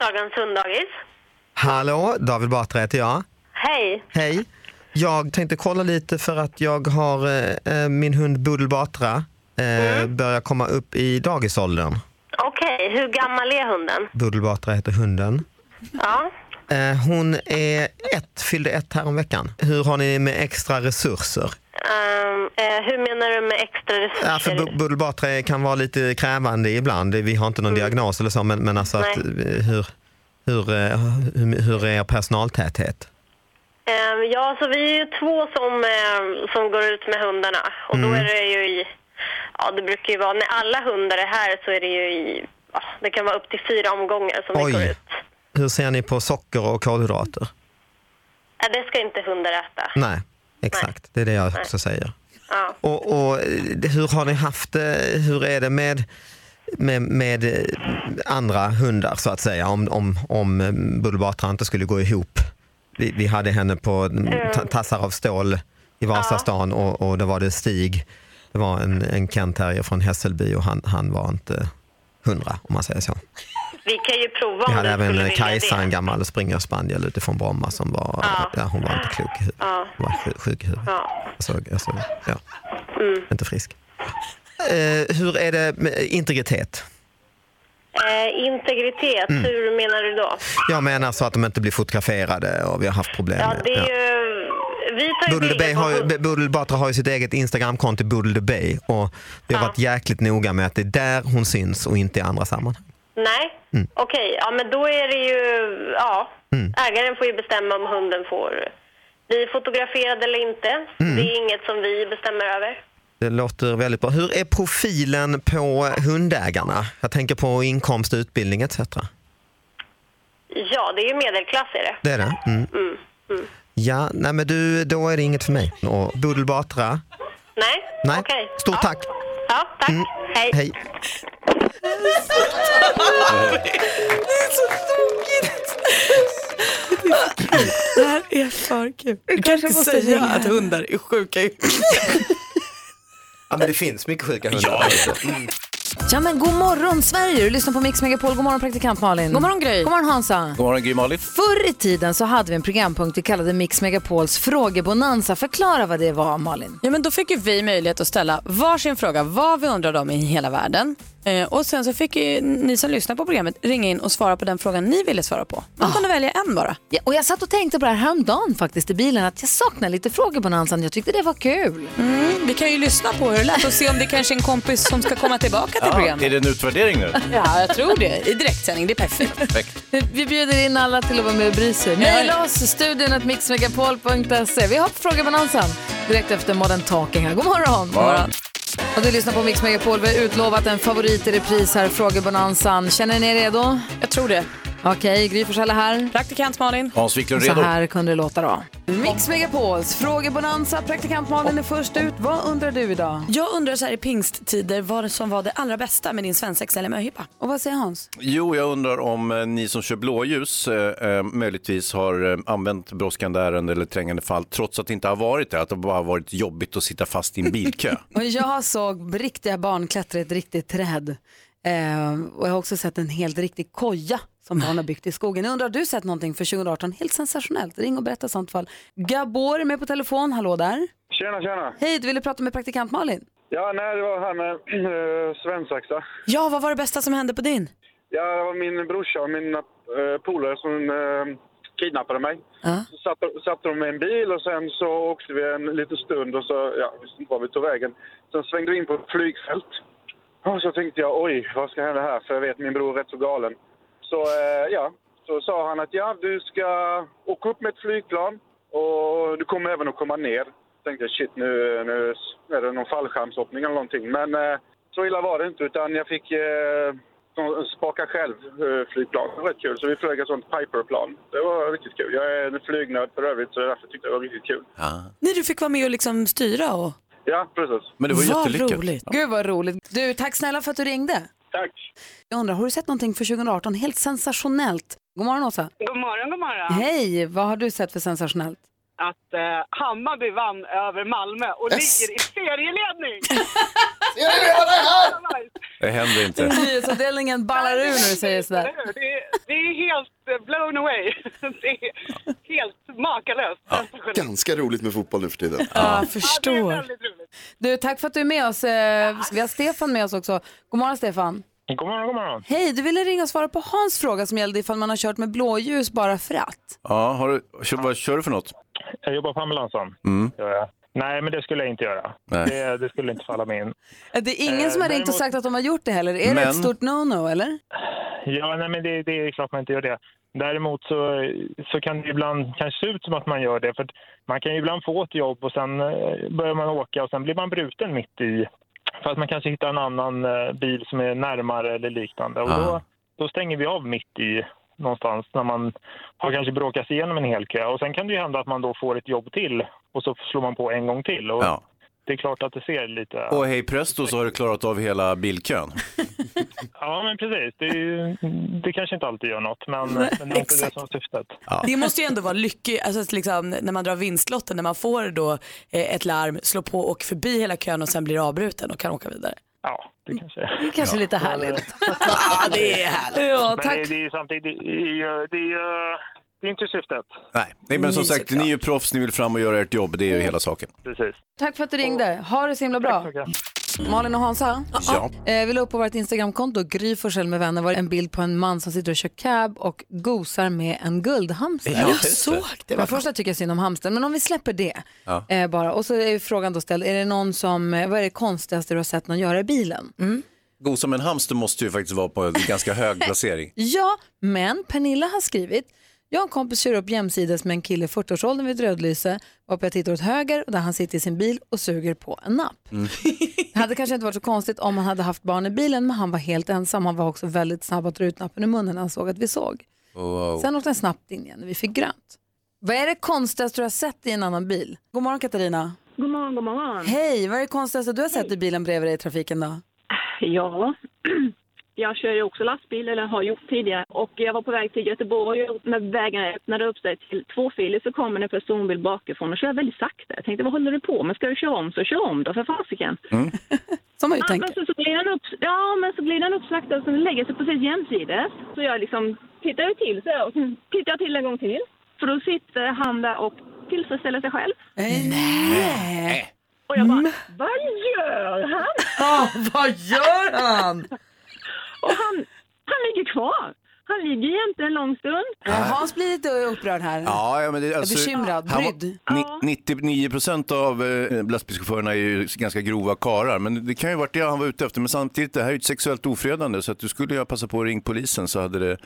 S23: Sagans hunddagis.
S19: Hallå, David Batra heter jag.
S23: Hej.
S19: Hej. Jag tänkte kolla lite för att jag har eh, eh, min hund Budel Batra eh, börjar komma upp i dagisåldern.
S23: Okej, hur gammal är hunden?
S19: Budel Batra heter hunden.
S23: Ja.
S19: Eh, hon är ett, fyllde ett häromveckan. Hur har ni med extra resurser?
S23: Ehm, eh, hur menar du med extra
S19: Ja,
S23: resurser?
S19: för Bu- Budel Batra kan vara lite krävande ibland. Vi har inte någon diagnos eller så, men, men alltså att,
S23: Nej.
S19: eh, hur, hur, eh, hur, hur är er personaltäthet?
S23: Ehm, ja, så vi är ju två som, eh, som går ut med hundarna. Och då
S19: Mm.
S23: är det ju i... Ja, det brukar ju vara... När alla hundar är här så är det ju i... Ja, det kan vara upp till fyra omgångar som vi går
S19: Oj,
S23: ut.
S19: hur ser ni på socker och kolhydrater?
S23: Ja, det ska inte hundar äta.
S19: Nej, exakt. Det är det jag
S23: Nej.
S19: också säger.
S23: Ja.
S19: Och, och eh, hur har ni haft det? Hur är det med, med, med eh, andra hundar så att säga? Om, om, om eh, Budel Batra inte skulle gå ihop. Vi, vi hade henne på mm, ta-
S23: Eh.
S19: tassar av stål i Vasastan och, och då var det Stig. Det var en, en Kent Terrier från Hässelby och han, han var inte hundra om man säger så.
S23: Vi kan ju prova
S19: Vi
S23: om
S19: hade
S23: du skulle
S19: även eh,
S23: vilja
S19: Kajsa,
S23: det.
S19: en gammal springerspaniel utifrån Bromma som var, ja. hon var inte klok i huvudet.
S23: Ja.
S19: Hon var sjuk, sjuk i huvudet.
S23: Ja.
S19: Jag såg, jag såg, ja.
S23: Mm.
S19: Inte frisk. Eh, hur är det med integritet?
S23: Eh, integritet,
S19: Mm.
S23: hur menar du då?
S19: Jag menar så att de inte blir fotograferade och vi har haft problem.
S23: Ja,
S19: med-
S23: det är ju... Vi tar ju
S19: Budel de Bay
S23: bilder på
S19: har ju, Budel Batra har ju sitt eget Instagramkonto Budel de Bay och vi har varit jäkligt noga med att det är där hon syns och inte i andra sammanhang.
S23: Nej, okej. Ja, men då är det ju... Ja, ägaren får ju bestämma om hunden får bli fotograferad eller inte.
S19: Mm.
S23: Det är inget som vi bestämmer över.
S19: Det låter väldigt bra. Hur är profilen på hundägarna? Jag tänker på inkomst, utbildning etc.
S23: Ja, det är ju medelklass är det.
S19: Det är det? Mm.
S23: Mm. Mm.
S19: Ja, nej men du, då är det inget för mig. Och Budel Batra?
S23: Nej,
S19: Nej.
S23: okej.
S19: Stort
S23: ja.
S19: tack!
S23: Ja, tack.
S19: Mm.
S23: Hej.
S19: Hej.
S5: Det är så tokigt! Det här är för kul. Du kan inte
S4: måste
S5: säga
S4: ringa.
S5: att hundar är sjuka.
S19: Ja, men det finns mycket sjuka
S4: Ja,
S3: Mm.
S1: Ja men god morgon Sverige, du lyssnar på Mix Megapol. God morgon praktikant Malin. God morgon Gry. God morgon Hansa.
S3: God morgon, Gry Malin.
S1: Förr i tiden så hade vi en programpunkt vi kallade Mix Megapols frågebonanza. Förklara vad det var Malin.
S24: Ja, men då fick ju vi möjlighet att ställa varsin fråga vad vi undrade om i hela världen. Eh, och sen så fick ju ni som lyssnar på programmet ringa in och svara på den frågan ni ville svara på. Man kunde välja en bara.
S1: Ja, och jag satt och tänkte på det här häromdagen faktiskt i bilen att jag saknar lite frågebonanzan. Jag tyckte det var kul.
S24: Mm, vi kan ju lyssna på hur det lät och se om det kanske är en kompis som ska komma tillbaka till
S3: Ja,
S24: programmet.
S3: är det en utvärdering nu?
S24: Ja, jag tror det. I direktsändning, det är perfekt.
S1: Vi bjuder in alla till att vara med och bry sig. Mejla oss, studion att mixmegapol.se. Vi har frågebonanzan direkt efter Modern Talking. Här. God morgon!
S4: Morgon.
S1: Och du lyssnar på Mix Megapol. Vi har utlovat en favorit i repris här, frågebonanzan. Känner ni er redo?
S24: Jag tror det.
S1: Okej, Gry Forssell är här.
S24: Praktikant Malin.
S3: Hans Wiklund
S1: Så
S3: redo?
S1: här kunde det låta då. Mix Megapols frågebonanza. Praktikant Malin är först ut. Vad undrar du idag?
S5: Jag undrar så här i pingsttider vad det som var det allra bästa med din svensexa eller möhippa.
S1: Och vad säger Hans?
S3: Jo, jag undrar om eh, ni som kör blåljus eh, eh, möjligtvis har eh, använt brådskande ärende eller trängande fall trots att det inte har varit det, att det bara har varit jobbigt att sitta fast i en bilkö.
S1: Och jag såg riktiga barn klättra i ett riktigt träd. Eh, och jag har också sett en helt riktig koja som barn har byggt i skogen. Jag undrar, har du sett någonting för 2018? Helt sensationellt. Ring och berätta i sånt fall. Gabor är med på telefon. Hallå där.
S25: Tjena, tjena!
S1: Hej, du ville prata med praktikant Malin.
S25: Ja, nej, det var här med äh, svensexa.
S5: Ja, vad var det bästa som hände på din?
S25: Ja, det var min brorsa och mina eh, polare som eh, kidnappade mig. Så satte, satte de mig i en bil och sen så åkte vi en liten stund och så, ja, jag visste inte var vi tog vägen. Sen svängde vi in på ett flygfält. Och så tänkte jag, oj, vad ska hända här? För jag vet, min bror är rätt så galen. Så, eh, ja, så sa han att ja, du ska åka upp med ett flygplan och du kommer även att komma ner. Tänkte jag, shit, nu, nu är det någon fallskärmshoppning eller någonting. Men eh, så illa var det inte, utan jag fick eh, som- spaka själv eh, flygplan. Det var rätt kul. Så vi flög ett sånt Piperplan. Det var riktigt kul. Jag är en flygnörd för övrigt, så därför tyckte jag det var riktigt kul.
S5: När du fick vara med och liksom styra och...
S25: Ja, precis.
S3: Men
S5: det var Vad jättelyckat. roligt.
S1: Gud vad roligt. Du, tack snälla för att du ringde.
S25: Tack.
S1: Jag undrar, har du sett någonting för 2018? Helt sensationellt. God morgon Åsa.
S6: God morgon, god morgon.
S1: Hej, vad har du sett för sensationellt?
S26: att eh, Hammarby vann över Malmö och
S3: Yes.
S26: ligger i serieledning.
S4: Serieledare
S26: här!
S3: Det händer inte.
S1: Nyhetsavdelningen ballar ur när du säger sådär.
S26: Det är, det är helt eh, blown away. Det är helt makalöst.
S16: Ganska roligt med fotboll nu för tiden.
S1: Ja, jag förstår. Du, tack för att du är med oss. Eh, Vi har Stefan med oss också. God morgon Stefan.
S27: God morgon, god morgon.
S1: Hej, du ville ringa och svara på Hans fråga som gällde ifall man har kört med blåljus bara för att.
S27: Ja, har du, vad kör du för något? Jag jobbar på ambulansen.
S3: Mm.
S27: Gör jag. Nej, men det skulle jag inte göra.
S3: Nej.
S27: Det, det skulle inte falla mig in.
S1: Eh, Det är ingen
S27: Eh,
S1: som har ringt och
S27: däremot-
S1: sagt att de har gjort det heller. Är det
S27: Men-
S1: ett stort no-no eller?
S27: Ja, nej, men det, det är klart man inte gör det. Däremot så, så kan det ibland kanske se ut som att man gör det. För att man kan ju ibland få ett jobb och sen eh, börjar man åka och sen blir man bruten mitt i. För att man kanske hittar en annan eh, bil som är närmare eller liknande. Och då,
S28: Ah.
S27: då stänger vi av mitt i någonstans när man har kanske bråkat sig igenom en hel kö. Och sen kan det ju hända att man då får ett jobb till och så slår man på en gång till. Och
S3: Ja.
S27: Det är klart att det ser lite...
S3: Och hej presto så har du klarat av hela bilkön.
S27: Ja, men precis. Det, är ju,
S2: Mm.
S27: det kanske inte alltid gör något, men, men det är inte det som är syftet.
S2: Det måste ju ändå vara lyckligt, alltså att liksom, när man drar vinstlotten, när man får då eh, ett larm, slår på och förbi hela kön och sen blir avbruten och kan åka vidare.
S27: Ja, det kanske är.
S1: Det kanske är lite härligt.
S27: Ja,
S2: det är härligt.
S27: Ja,
S2: Ja,
S27: men
S2: tack.
S27: det, det är ju samtidigt, det är ju det är, ju- det är inte syftet.
S3: Nej, Nej men som
S27: Nej,
S3: sagt, ni är ju proffs, ni vill fram och göra ert jobb, det är ju hela saken.
S27: Precis.
S1: Tack för att du ringde. Ha det så himla bra. Malin och Hansa,
S3: Ja.
S1: eh, vi la upp på vårt Instagramkonto, Gry Forssell med vänner, var det en bild på en man som sitter och kör cab och gosar med en guldhamster.
S4: Ja, Jag just det. såg det.
S1: Men först jag tycker jag synd om hamstern, men om vi släpper det
S4: Ja.
S1: eh, bara. Och så är ju frågan då ställd, är det någon som, eh, vad är det konstigaste du har sett någon göra i bilen?
S3: God som en hamster måste ju faktiskt vara på en ganska hög placering.
S1: Ja, men Pernilla har skrivit. Jag och en kompis kör upp jämsides med en kille i 40-årsåldern vid ett rödlyse varpå jag tittar åt höger och där han sitter i sin bil och suger på en napp. Det hade kanske inte varit så konstigt om han hade haft barn i bilen men han var helt ensam. Han var också väldigt snabb att dra ut nappen ur munnen när han såg att vi såg.
S3: Wow.
S1: Sen åkte han snabbt in igen när vi fick grönt. Vad är det konstigaste du har sett i en annan bil? God morgon Katarina.
S6: God morgon, god morgon.
S1: Hej, vad är det konstigaste du har sett i bilen bredvid dig i trafiken då?
S6: Ja, jag kör ju också lastbil, eller har gjort tidigare. Och jag var på väg till Göteborg och när vägen öppnade upp sig till tvåfilig så kommer en personbil bakifrån och kör väldigt sakta. Jag tänkte, vad håller du på med? Ska du köra om så kör om då för fasiken.
S4: Mm.
S1: Som man ju
S6: ja,
S1: tänker.
S6: Men så, så glider han upp, ja, men så glider han upp sakta och sen lägger sig precis jämsides. Så jag liksom tittar ju till så här, och sen tittar jag till en gång till. För då sitter han där och tillfredsställer sig själv.
S1: Eh. Nej.
S6: Och jag bara, vad gör han?
S1: Mm. Ja, vad gör han?
S6: Och han, han ligger kvar. Han ligger jämte en lång stund.
S1: Ja, Hans blir lite upprörd här.
S3: Ja, ja, men det, alltså,
S1: bekymrad,
S3: han var-
S1: brydd.
S3: ni- 99 procent av eh, lastbilschaufförerna är ju ganska grova karar, men det kan ju varit det han var ute efter. Men samtidigt, det här är ju ett sexuellt ofredande, så att du skulle ju ha passat på att ringa polisen så hade det...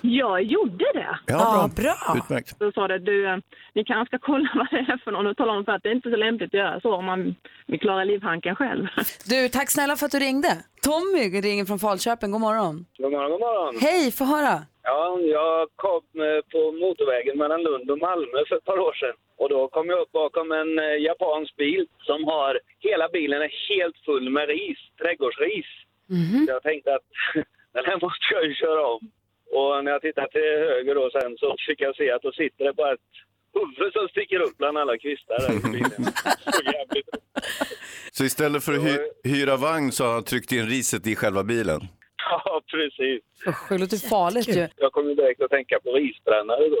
S6: Jag gjorde det.
S3: Ja, Utmärkt.
S6: Då sa det, du, eh, ni kanske ska kolla vad det är för någon och tala om för att det är inte så lämpligt att göra så om man vill klara livhanken själv.
S1: Du, tack snälla för att du ringde. Tommy ringer från Falköping, god morgon.
S29: God morgon, god morgon.
S1: Hej, få höra.
S29: Ja, jag kom eh, på motorvägen mellan Lund och Malmö för ett par år sedan. Och då kom jag upp bakom en eh, japansk bil som har, hela bilen är helt full med ris, trädgårdsris. Så jag tänkte att den här måste jag ju köra om. Och när jag tittade till höger då sen så fick jag se att då sitter det bara ett huvud som sticker upp bland alla kvistar där i bilen.
S3: Så istället för att hy- hyra vagn så har han tryckt in riset i själva bilen.
S29: Ja, precis.
S1: Usch, det låter farligt ju.
S29: Jag kom ju direkt att tänka på risbrännare då.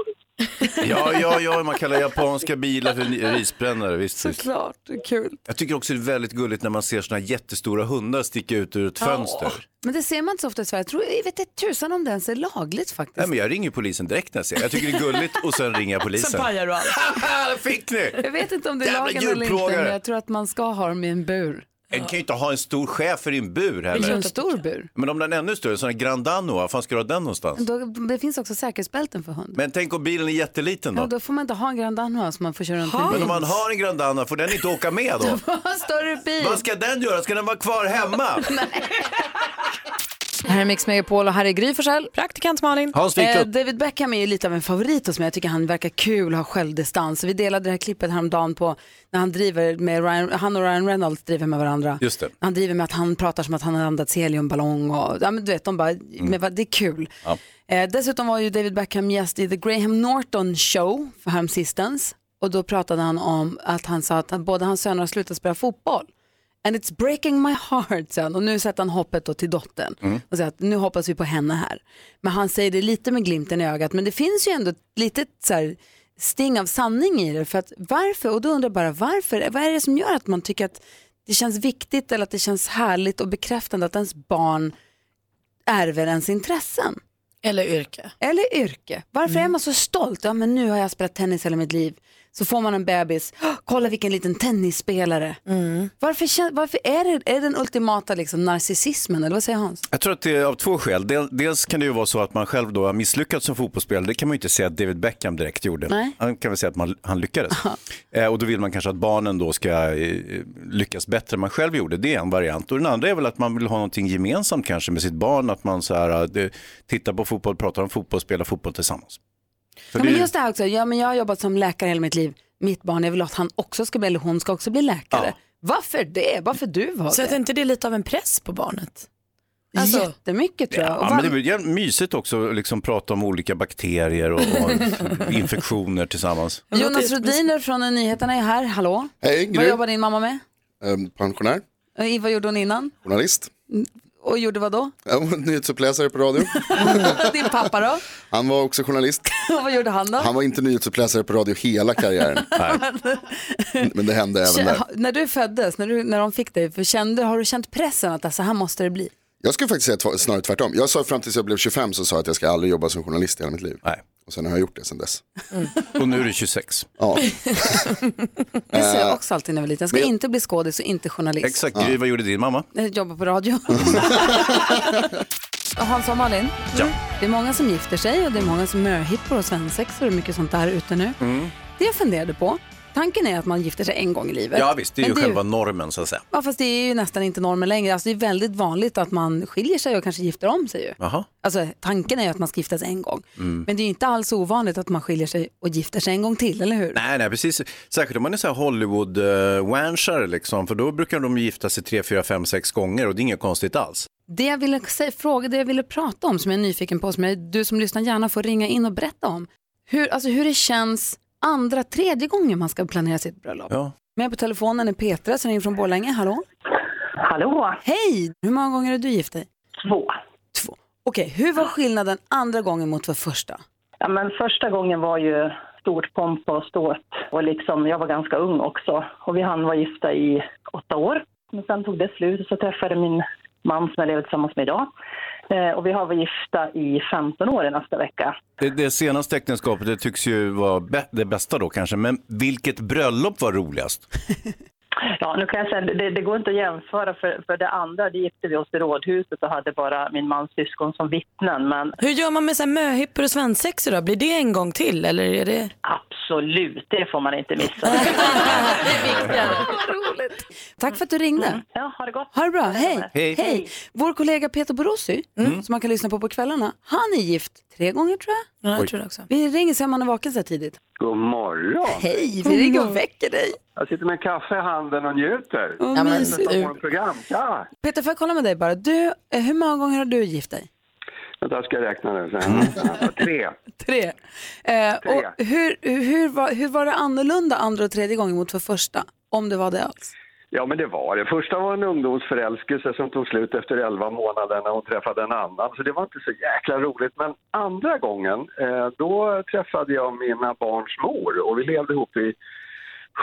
S3: Ja, ja, ja, man kallar japanska bilar för ni- risbrännare, visst. visst.
S1: Såklart, det är kul.
S3: Jag tycker också det är väldigt gulligt när man ser såna jättestora hundar sticka ut ur ett
S1: Ja.
S3: fönster.
S1: Men det ser man inte så ofta i Sverige. Jag, tror, jag vet inte tusan om det ens är lagligt faktiskt.
S3: Nej, men jag ringer polisen direkt när jag ser det. Jag tycker det är gulligt och sen ringer jag polisen.
S1: du allt.
S3: Där fick ni!
S1: Jag vet inte om det är
S3: Jävla
S1: lagen eller inte,
S3: djurplågare.
S1: men jag tror att man ska ha dem i en bur.
S3: En kan ju inte ha en stor schäfer i en bur
S1: Eller en
S3: heller.
S1: stor bur.
S3: Men om den är ännu större, en sån här Grand Dano, var fan ska du ha den någonstans?
S1: Då, det finns också säkerhetsbälten för hund.
S3: Men tänk om bilen är jätteliten
S1: Ja,
S3: då?
S1: då får man inte ha en Grand Danois som man får köra runt med
S3: Men
S1: bil.
S3: om man har en Grand Dano, får den inte åka med då?
S1: Ha en större bil.
S3: Vad ska den göra? Ska den vara kvar hemma?
S1: Här är Mix Megapol och här är Gry Forssell.
S2: Praktikant Malin.
S3: Hans Wiklund.
S1: Eh, David Beckham är ju lite av en favorit hos mig. Jag tycker han verkar kul och har självdistans. Vi delade det här klippet häromdagen på när han, driver med Ryan, han och Ryan Reynolds driver med varandra.
S4: Just det.
S1: Han driver med att han pratar som att han har andats heliumballong och ja, men du vet, de bara,
S3: Mm.
S1: men vad- det är kul. Eh, dessutom var ju David Beckham gäst i The Graham Norton Show för häromsistens. och då pratade han om att han sa att han, båda hans söner har slutat spela fotboll. And it's breaking my heart, sen. Och nu sätter han hoppet då till dottern
S4: Mm.
S1: och säger att nu hoppas vi på henne här. Men han säger det lite med glimten i ögat, men det finns ju ändå ett litet så här, sting av sanning i det. För att varför, och då undrar jag bara varför, vad är det som gör att man tycker att det känns viktigt eller att det känns härligt och bekräftande att ens barn ärver ens intressen?
S2: Eller yrke. Mm.
S1: Eller yrke. Varför är man så stolt? Ja, men nu har jag spelat tennis hela mitt liv. Så får man en bebis. "Åh, Kolla vilken liten tennisspelare.
S2: Mm.
S1: Varför, kän- varför är det, är det den ultimata liksom, narcissismen? Eller vad säger Hans?
S3: Jag tror att det är av två skäl. Del- Dels kan det ju vara så att man själv då har misslyckats som fotbollsspelare. Det kan man ju inte säga att David Beckham direkt gjorde.
S1: Nej.
S3: Han kan väl säga att man, han lyckades. eh, och då vill man kanske att barnen då ska eh, lyckas bättre än man själv gjorde. Det är en variant. Och den andra är väl att man vill ha någonting gemensamt kanske med sitt barn. Att man så här, eh, det- tittar på fotboll, pratar om fotboll, spelar fotboll tillsammans. Så
S1: Ja,
S3: det är-
S1: men just det här också, ja, men jag har jobbat som läkare hela mitt liv. Mitt barn, jag vill att han också ska bli, eller hon ska också bli läkare. Varför det? Varför du var
S2: Så
S1: det?
S2: att inte det är lite av en press på barnet?
S1: Alltså, Jättemycket tror jag. Och
S3: Ja,
S1: vad-
S3: men det blir jävligt mysigt också att liksom prata om olika bakterier och, och infektioner tillsammans.
S1: Jonas Rhodiner från Nyheterna är här, hallå.
S16: Hej, Gry.
S1: Vad jobbar din mamma med?
S16: Ehm, Pensionär,
S1: Eh, Vad gjorde hon innan?
S16: journalist,
S1: Och gjorde vad då?
S16: Ja, nyhetsuppläsare på radio.
S1: Din pappa då?
S16: Han var också journalist.
S1: Och vad gjorde han då?
S16: Han var inte nyhetsuppläsare på radio hela karriären. Men det hände även
S1: Kä-
S16: där.
S1: ha- när du föddes, när, du, när de fick dig, för kände, har du känt pressen att så här måste det bli?
S16: Jag skulle faktiskt säga tv- snarare tvärtom. Jag sa fram tills jag blev 25 så sa jag att jag ska aldrig jobba som journalist i hela mitt liv. Och sen har jag gjort det sen dess.
S3: Och nu är du 26.
S16: Ja.
S1: Det sa jag
S16: Eh,
S1: också alltid när jag var liten. Jag ska
S16: men-
S1: inte bli skådis och inte journalist.
S3: Exakt, Gry, vad gjorde din mamma?
S1: Jag jobbar Eh, på radio. Och Hans och Malin, mm,
S3: Ja.
S1: det är många som gifter sig och det är många som möhippor och svensexor och mycket sånt där ute nu.
S3: Mm.
S1: Det jag funderade på, tanken är att man gifter sig en gång i livet.
S3: Ja visst, det är ju
S1: Men
S3: själva normen så att säga.
S1: Ja, fast det är ju nästan inte normen längre. Alltså, det är väldigt vanligt att man skiljer sig och kanske gifter om sig. Ju.
S3: Jaha.
S1: Alltså, tanken är ju att man ska gifta sig en gång.
S3: Mm.
S1: Men det är ju inte alls ovanligt att man skiljer sig och gifter sig en gång till, eller hur?
S3: Nej, nej, precis. Särskilt om man är så här hollywood uh, wanchare liksom, för då brukar de gifta sig tre, fyra, fem, sex gånger och det är inget konstigt alls.
S1: Det jag ville sä- fråga, det jag ville prata om som jag är nyfiken på, som jag, du som lyssnar gärna får ringa in och berätta om. Hur, alltså, hur det känns andra, tredje gången man ska planera sitt bröllop.
S3: Ja.
S1: Med på telefonen är Petra som ringer från Borlänge. Hallå? Hallå! Hej! Hur många gånger har du gift dig? Två. Två. Okej, hur var skillnaden andra gången mot för första?
S8: Ja, men första gången var ju stort pompa och ståt och liksom, jag var ganska ung också och vi hann vara gifta i åtta år. Men sen tog det slut och så träffade jag min man som jag lever tillsammans med idag eh, och vi har varit gifta i 15 år i nästa vecka.
S3: Det, det senaste äktenskapet det tycks ju vara bä- det bästa då kanske, men vilket bröllop var roligast?
S8: Ja, nu kan jag säga, det, det går inte att jämföra för, för det andra, det gifte vi oss i rådhuset och hade bara min mans syskon som vittnen men
S2: Hur gör man med så här möhippor och svensexor då? Blir det en gång till eller är det?
S8: absolut, det får man inte missa.
S1: Tack för att du ringde.
S8: Mm. Ja, ha det gott.
S1: Ha det bra, hej.
S8: Hej.
S1: Vår kollega Peter Borossi, som man kan lyssna på på kvällarna, han är gift tre gånger tror jag.
S8: Ja,
S28: Mm.
S8: jag Oj. tror det också.
S1: Vi ringer så om han är vaken så här tidigt.
S28: God morgon!
S1: Hej, vi ringer och väcker dig.
S28: Jag sitter med en kaffe i handen och njuter.
S1: Åh, Ja, men- mysigt.
S28: men... program. Ja.
S1: Peter, får jag kolla med dig bara? Du, eh, hur många gånger har du gift dig?
S28: Vänta, jag ska räkna nu.
S1: Mm.
S28: Så- Tre.
S1: Tre. Eh, och hur, hur, var, hur var det annorlunda andra och tredje gången mot för första? Om det var det alls.
S28: Ja, men det var det. Första var en ungdomsförälskelse som tog slut efter 11 månader när hon träffade en annan. Så det var inte så jäkla roligt. Men andra gången, eh, då träffade jag mina barns mor och vi levde ihop i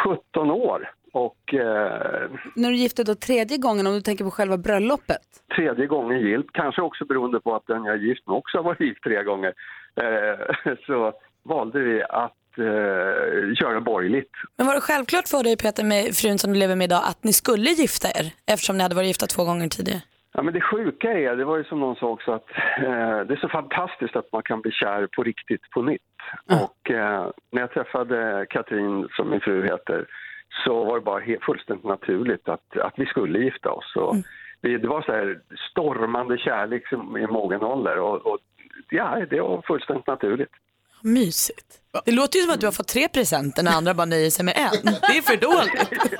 S28: 17 år. Och eh,
S1: När du gifte dig då tredje gången, om du tänker på själva bröllopet.
S28: tredje gången gilt, kanske också beroende på att den jag är gift med också har varit gift tre gånger, eh, så valde vi att eh, köra borgerligt.
S2: Men var det självklart för dig Peter med frun som du lever med idag att ni skulle gifta er eftersom ni hade varit gifta två gånger tidigare?
S28: Ja, men det sjuka är, det var ju som någon sa också, att eh, det är så fantastiskt att man kan bli kär på riktigt på nytt. Och eh, när jag träffade Katrin, som min fru heter, så var det bara he- fullständigt naturligt att, att vi skulle gifta oss. Och vi, det var så här stormande kärlek som, i mogen ålder och, och ja, det var fullständigt naturligt.
S2: Mysigt. Det låter ju som att du har fått tre presenter när andra bara nöjer sig med en. Det är för dåligt.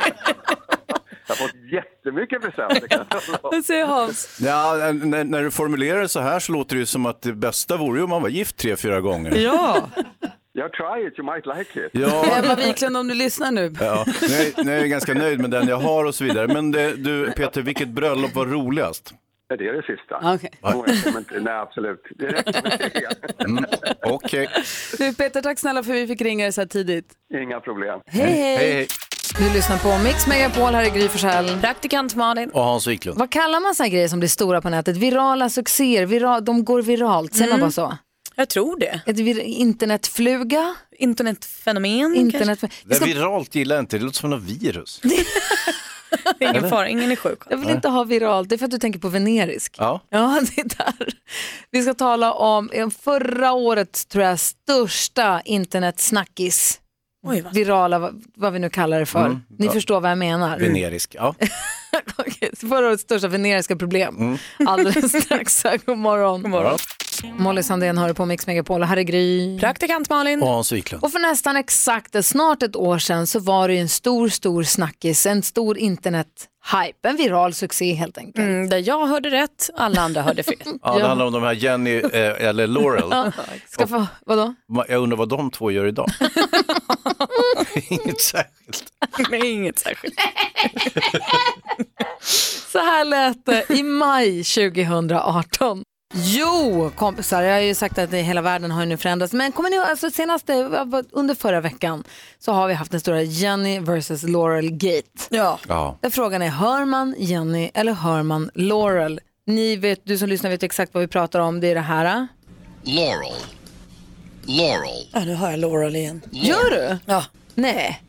S28: Jag har fått jättemycket presenter kan jag tala om.
S1: säger Hans?
S3: Ja, när, när du formulerar det så här så låter det ju som att det bästa vore ju om man var gift tre, fyra gånger.
S2: Ja.
S28: Jag try it, you might like it.
S1: Ebba Wiklund, om du lyssnar nu.
S3: Ja, nu, är, nu är jag ganska nöjd med den jag har och så vidare. Men det, du Peter, vilket bröllop var roligast?
S28: Ja, Det är det sista.
S1: Ah, Okej.
S28: Då är det- men inte- Nej, absolut. Det räcker med
S3: Mm, Okej,
S1: Du Peter, tack snälla för vi fick ringa dig så här tidigt.
S28: inga problem.
S1: Hej, hej. Hej, hej. Du lyssnar på Mix Megapol, här är Gry Forssell.
S24: Praktikant Malin.
S3: och Hans Wiklund.
S1: Vad kallar man såna här grejer som blir stora på nätet? Virala succéer, vira, de går viralt, säger
S24: Mm.
S1: man bara så?
S24: Jag tror det.
S1: Ett vir- internetfluga?
S24: Internetfenomen
S1: Internet...
S3: Det är viralt gillar jag inte, det låter som något virus.
S24: Det är
S3: Eller?
S24: ingen fara, ingen är sjuk.
S1: Jag vill inte ha viralt, det är för att du tänker på venerisk.
S3: Ja.
S1: Ja, det är där. Vi ska tala om eh, förra årets, tror jag, största internetsnackis. Virala, vad, vad vi nu kallar det för.
S3: Mm,
S1: Ni
S3: ja.
S1: förstår vad jag menar.
S3: Venerisk, ja.
S1: Förra årets största veneriska problem.
S3: Mm.
S1: Alldeles strax. här. God morgon. God
S3: morgon.
S1: Molly Sandén hör på Mix Megapol och här är Gry.
S24: Praktikant Malin.
S3: Och Hans Wiklund.
S1: Och för nästan exakt snart ett år sedan så var det ju en stor, stor snackis, en stor internethype, en viral succé helt enkelt.
S24: Mm, där jag hörde rätt, alla andra hörde fel.
S3: Ja, det handlar om de här Jenny eh, eller Laurel.
S1: Ska få, vadå?
S3: Ma- Jag undrar vad de två gör idag. Inget särskilt.
S24: Nej, inget särskilt.
S1: Så här lät det i maj 2018. Jo, kompisar, jag har ju sagt att det- hela världen har ju nu förändrats, men kommer ni ihåg, alltså senaste, under förra veckan så har vi haft den stora Jenny vs Laurel Gate. Ja.
S3: Ja.
S1: Där frågan är, hör man Jenny eller hör man Laurel? Ni vet, du som lyssnar vet ju exakt vad vi pratar om, det är det här. ah?
S5: Laurel. Laurel. Ja, nu hör jag Laurel igen.
S1: Gör du?
S5: Ja.
S1: Nej.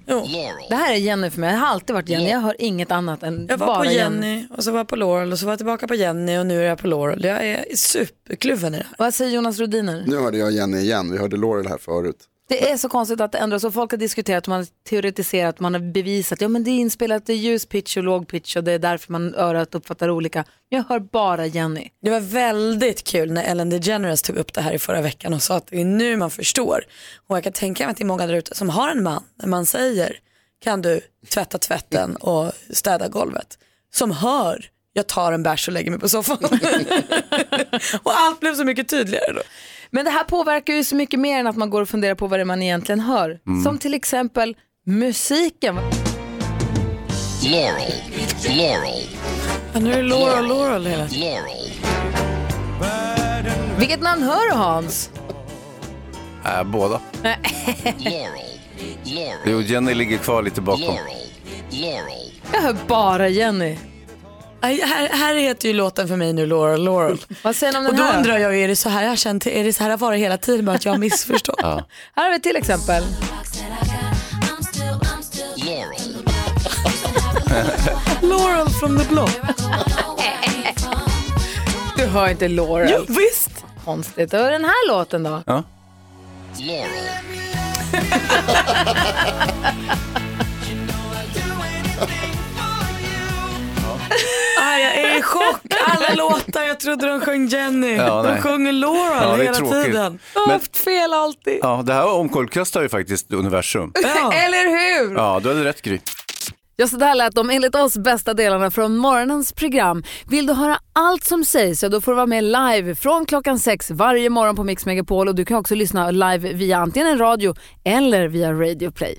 S1: Det här är Jenny för mig, jag har alltid varit Jenny, jag hör inget annat än
S5: Jag var
S1: bara
S5: på Jenny, och så var jag på Laurel och så var jag tillbaka på Jenny och nu är jag på Laurel. Jag är superkluven i det här.
S1: Vad säger Jonas Rodiner?
S16: Nu hörde jag Jenny igen, vi hörde Laurel här förut.
S1: Det är så konstigt att det ändras och folk har diskuterat, man har teoretiserat, man har bevisat, ja men det är inspelat, det är ljus pitch och låg pitch och det är därför man örat uppfattar olika. Men jag hör bara Jenny.
S5: Det var väldigt kul när Ellen DeGeneres tog upp det här i förra veckan och sa att det är nu man förstår. Och jag kan tänka mig att det är många där ute som har en man, när man säger kan du tvätta tvätten och städa golvet, som hör jag tar en bärs och lägger mig på soffan. och allt blev så mycket tydligare då.
S1: Men det här påverkar ju så mycket mer än att man går och funderar på vad det är man egentligen hör.
S5: Mm.
S1: Som till exempel musiken.
S4: Laurel. Laurel.
S5: Ja, nu är det Laurel, Laurel hela tiden.
S1: Vilket namn hör du Hans?
S3: Äh, båda.
S1: Nej.
S3: Jo, Jenny ligger kvar lite bakom.
S1: jag hör bara Jenny.
S5: Aj, här, här heter ju låten för mig nu Laurel, Laurel.
S1: Vad säger ni om den
S5: och då
S1: här då?
S5: undrar jag, ju, är det så här jag har känt, är det så här det har varit hela tiden, bara att jag har missförstått?
S3: Ja.
S1: Här har vi till exempel.
S5: Laurel from the block.
S1: Du hör inte Laurel.
S5: Jo, visst.
S1: Konstigt. Och den här låten då?
S3: Ja.
S5: Aj, jag är i chock. Alla låtar, jag trodde de sjöng Jenny.
S3: Ja,
S5: de
S3: nej.
S5: sjunger Laurel
S3: Ja, det är
S5: hela
S3: tråkigt.
S5: tiden.
S3: Jag har Men- haft
S1: fel alltid.
S3: Ja, det här omkullkastar ju faktiskt universum.
S1: Eller hur?
S3: Ja, du hade rätt Gry.
S1: Ja, så där lät de enligt oss bästa delarna från morgonens program. Vill du höra allt som sägs så då får du vara med live från klockan sex varje morgon på Mix Megapol och du kan också lyssna live via antingen en radio eller via Radio Play.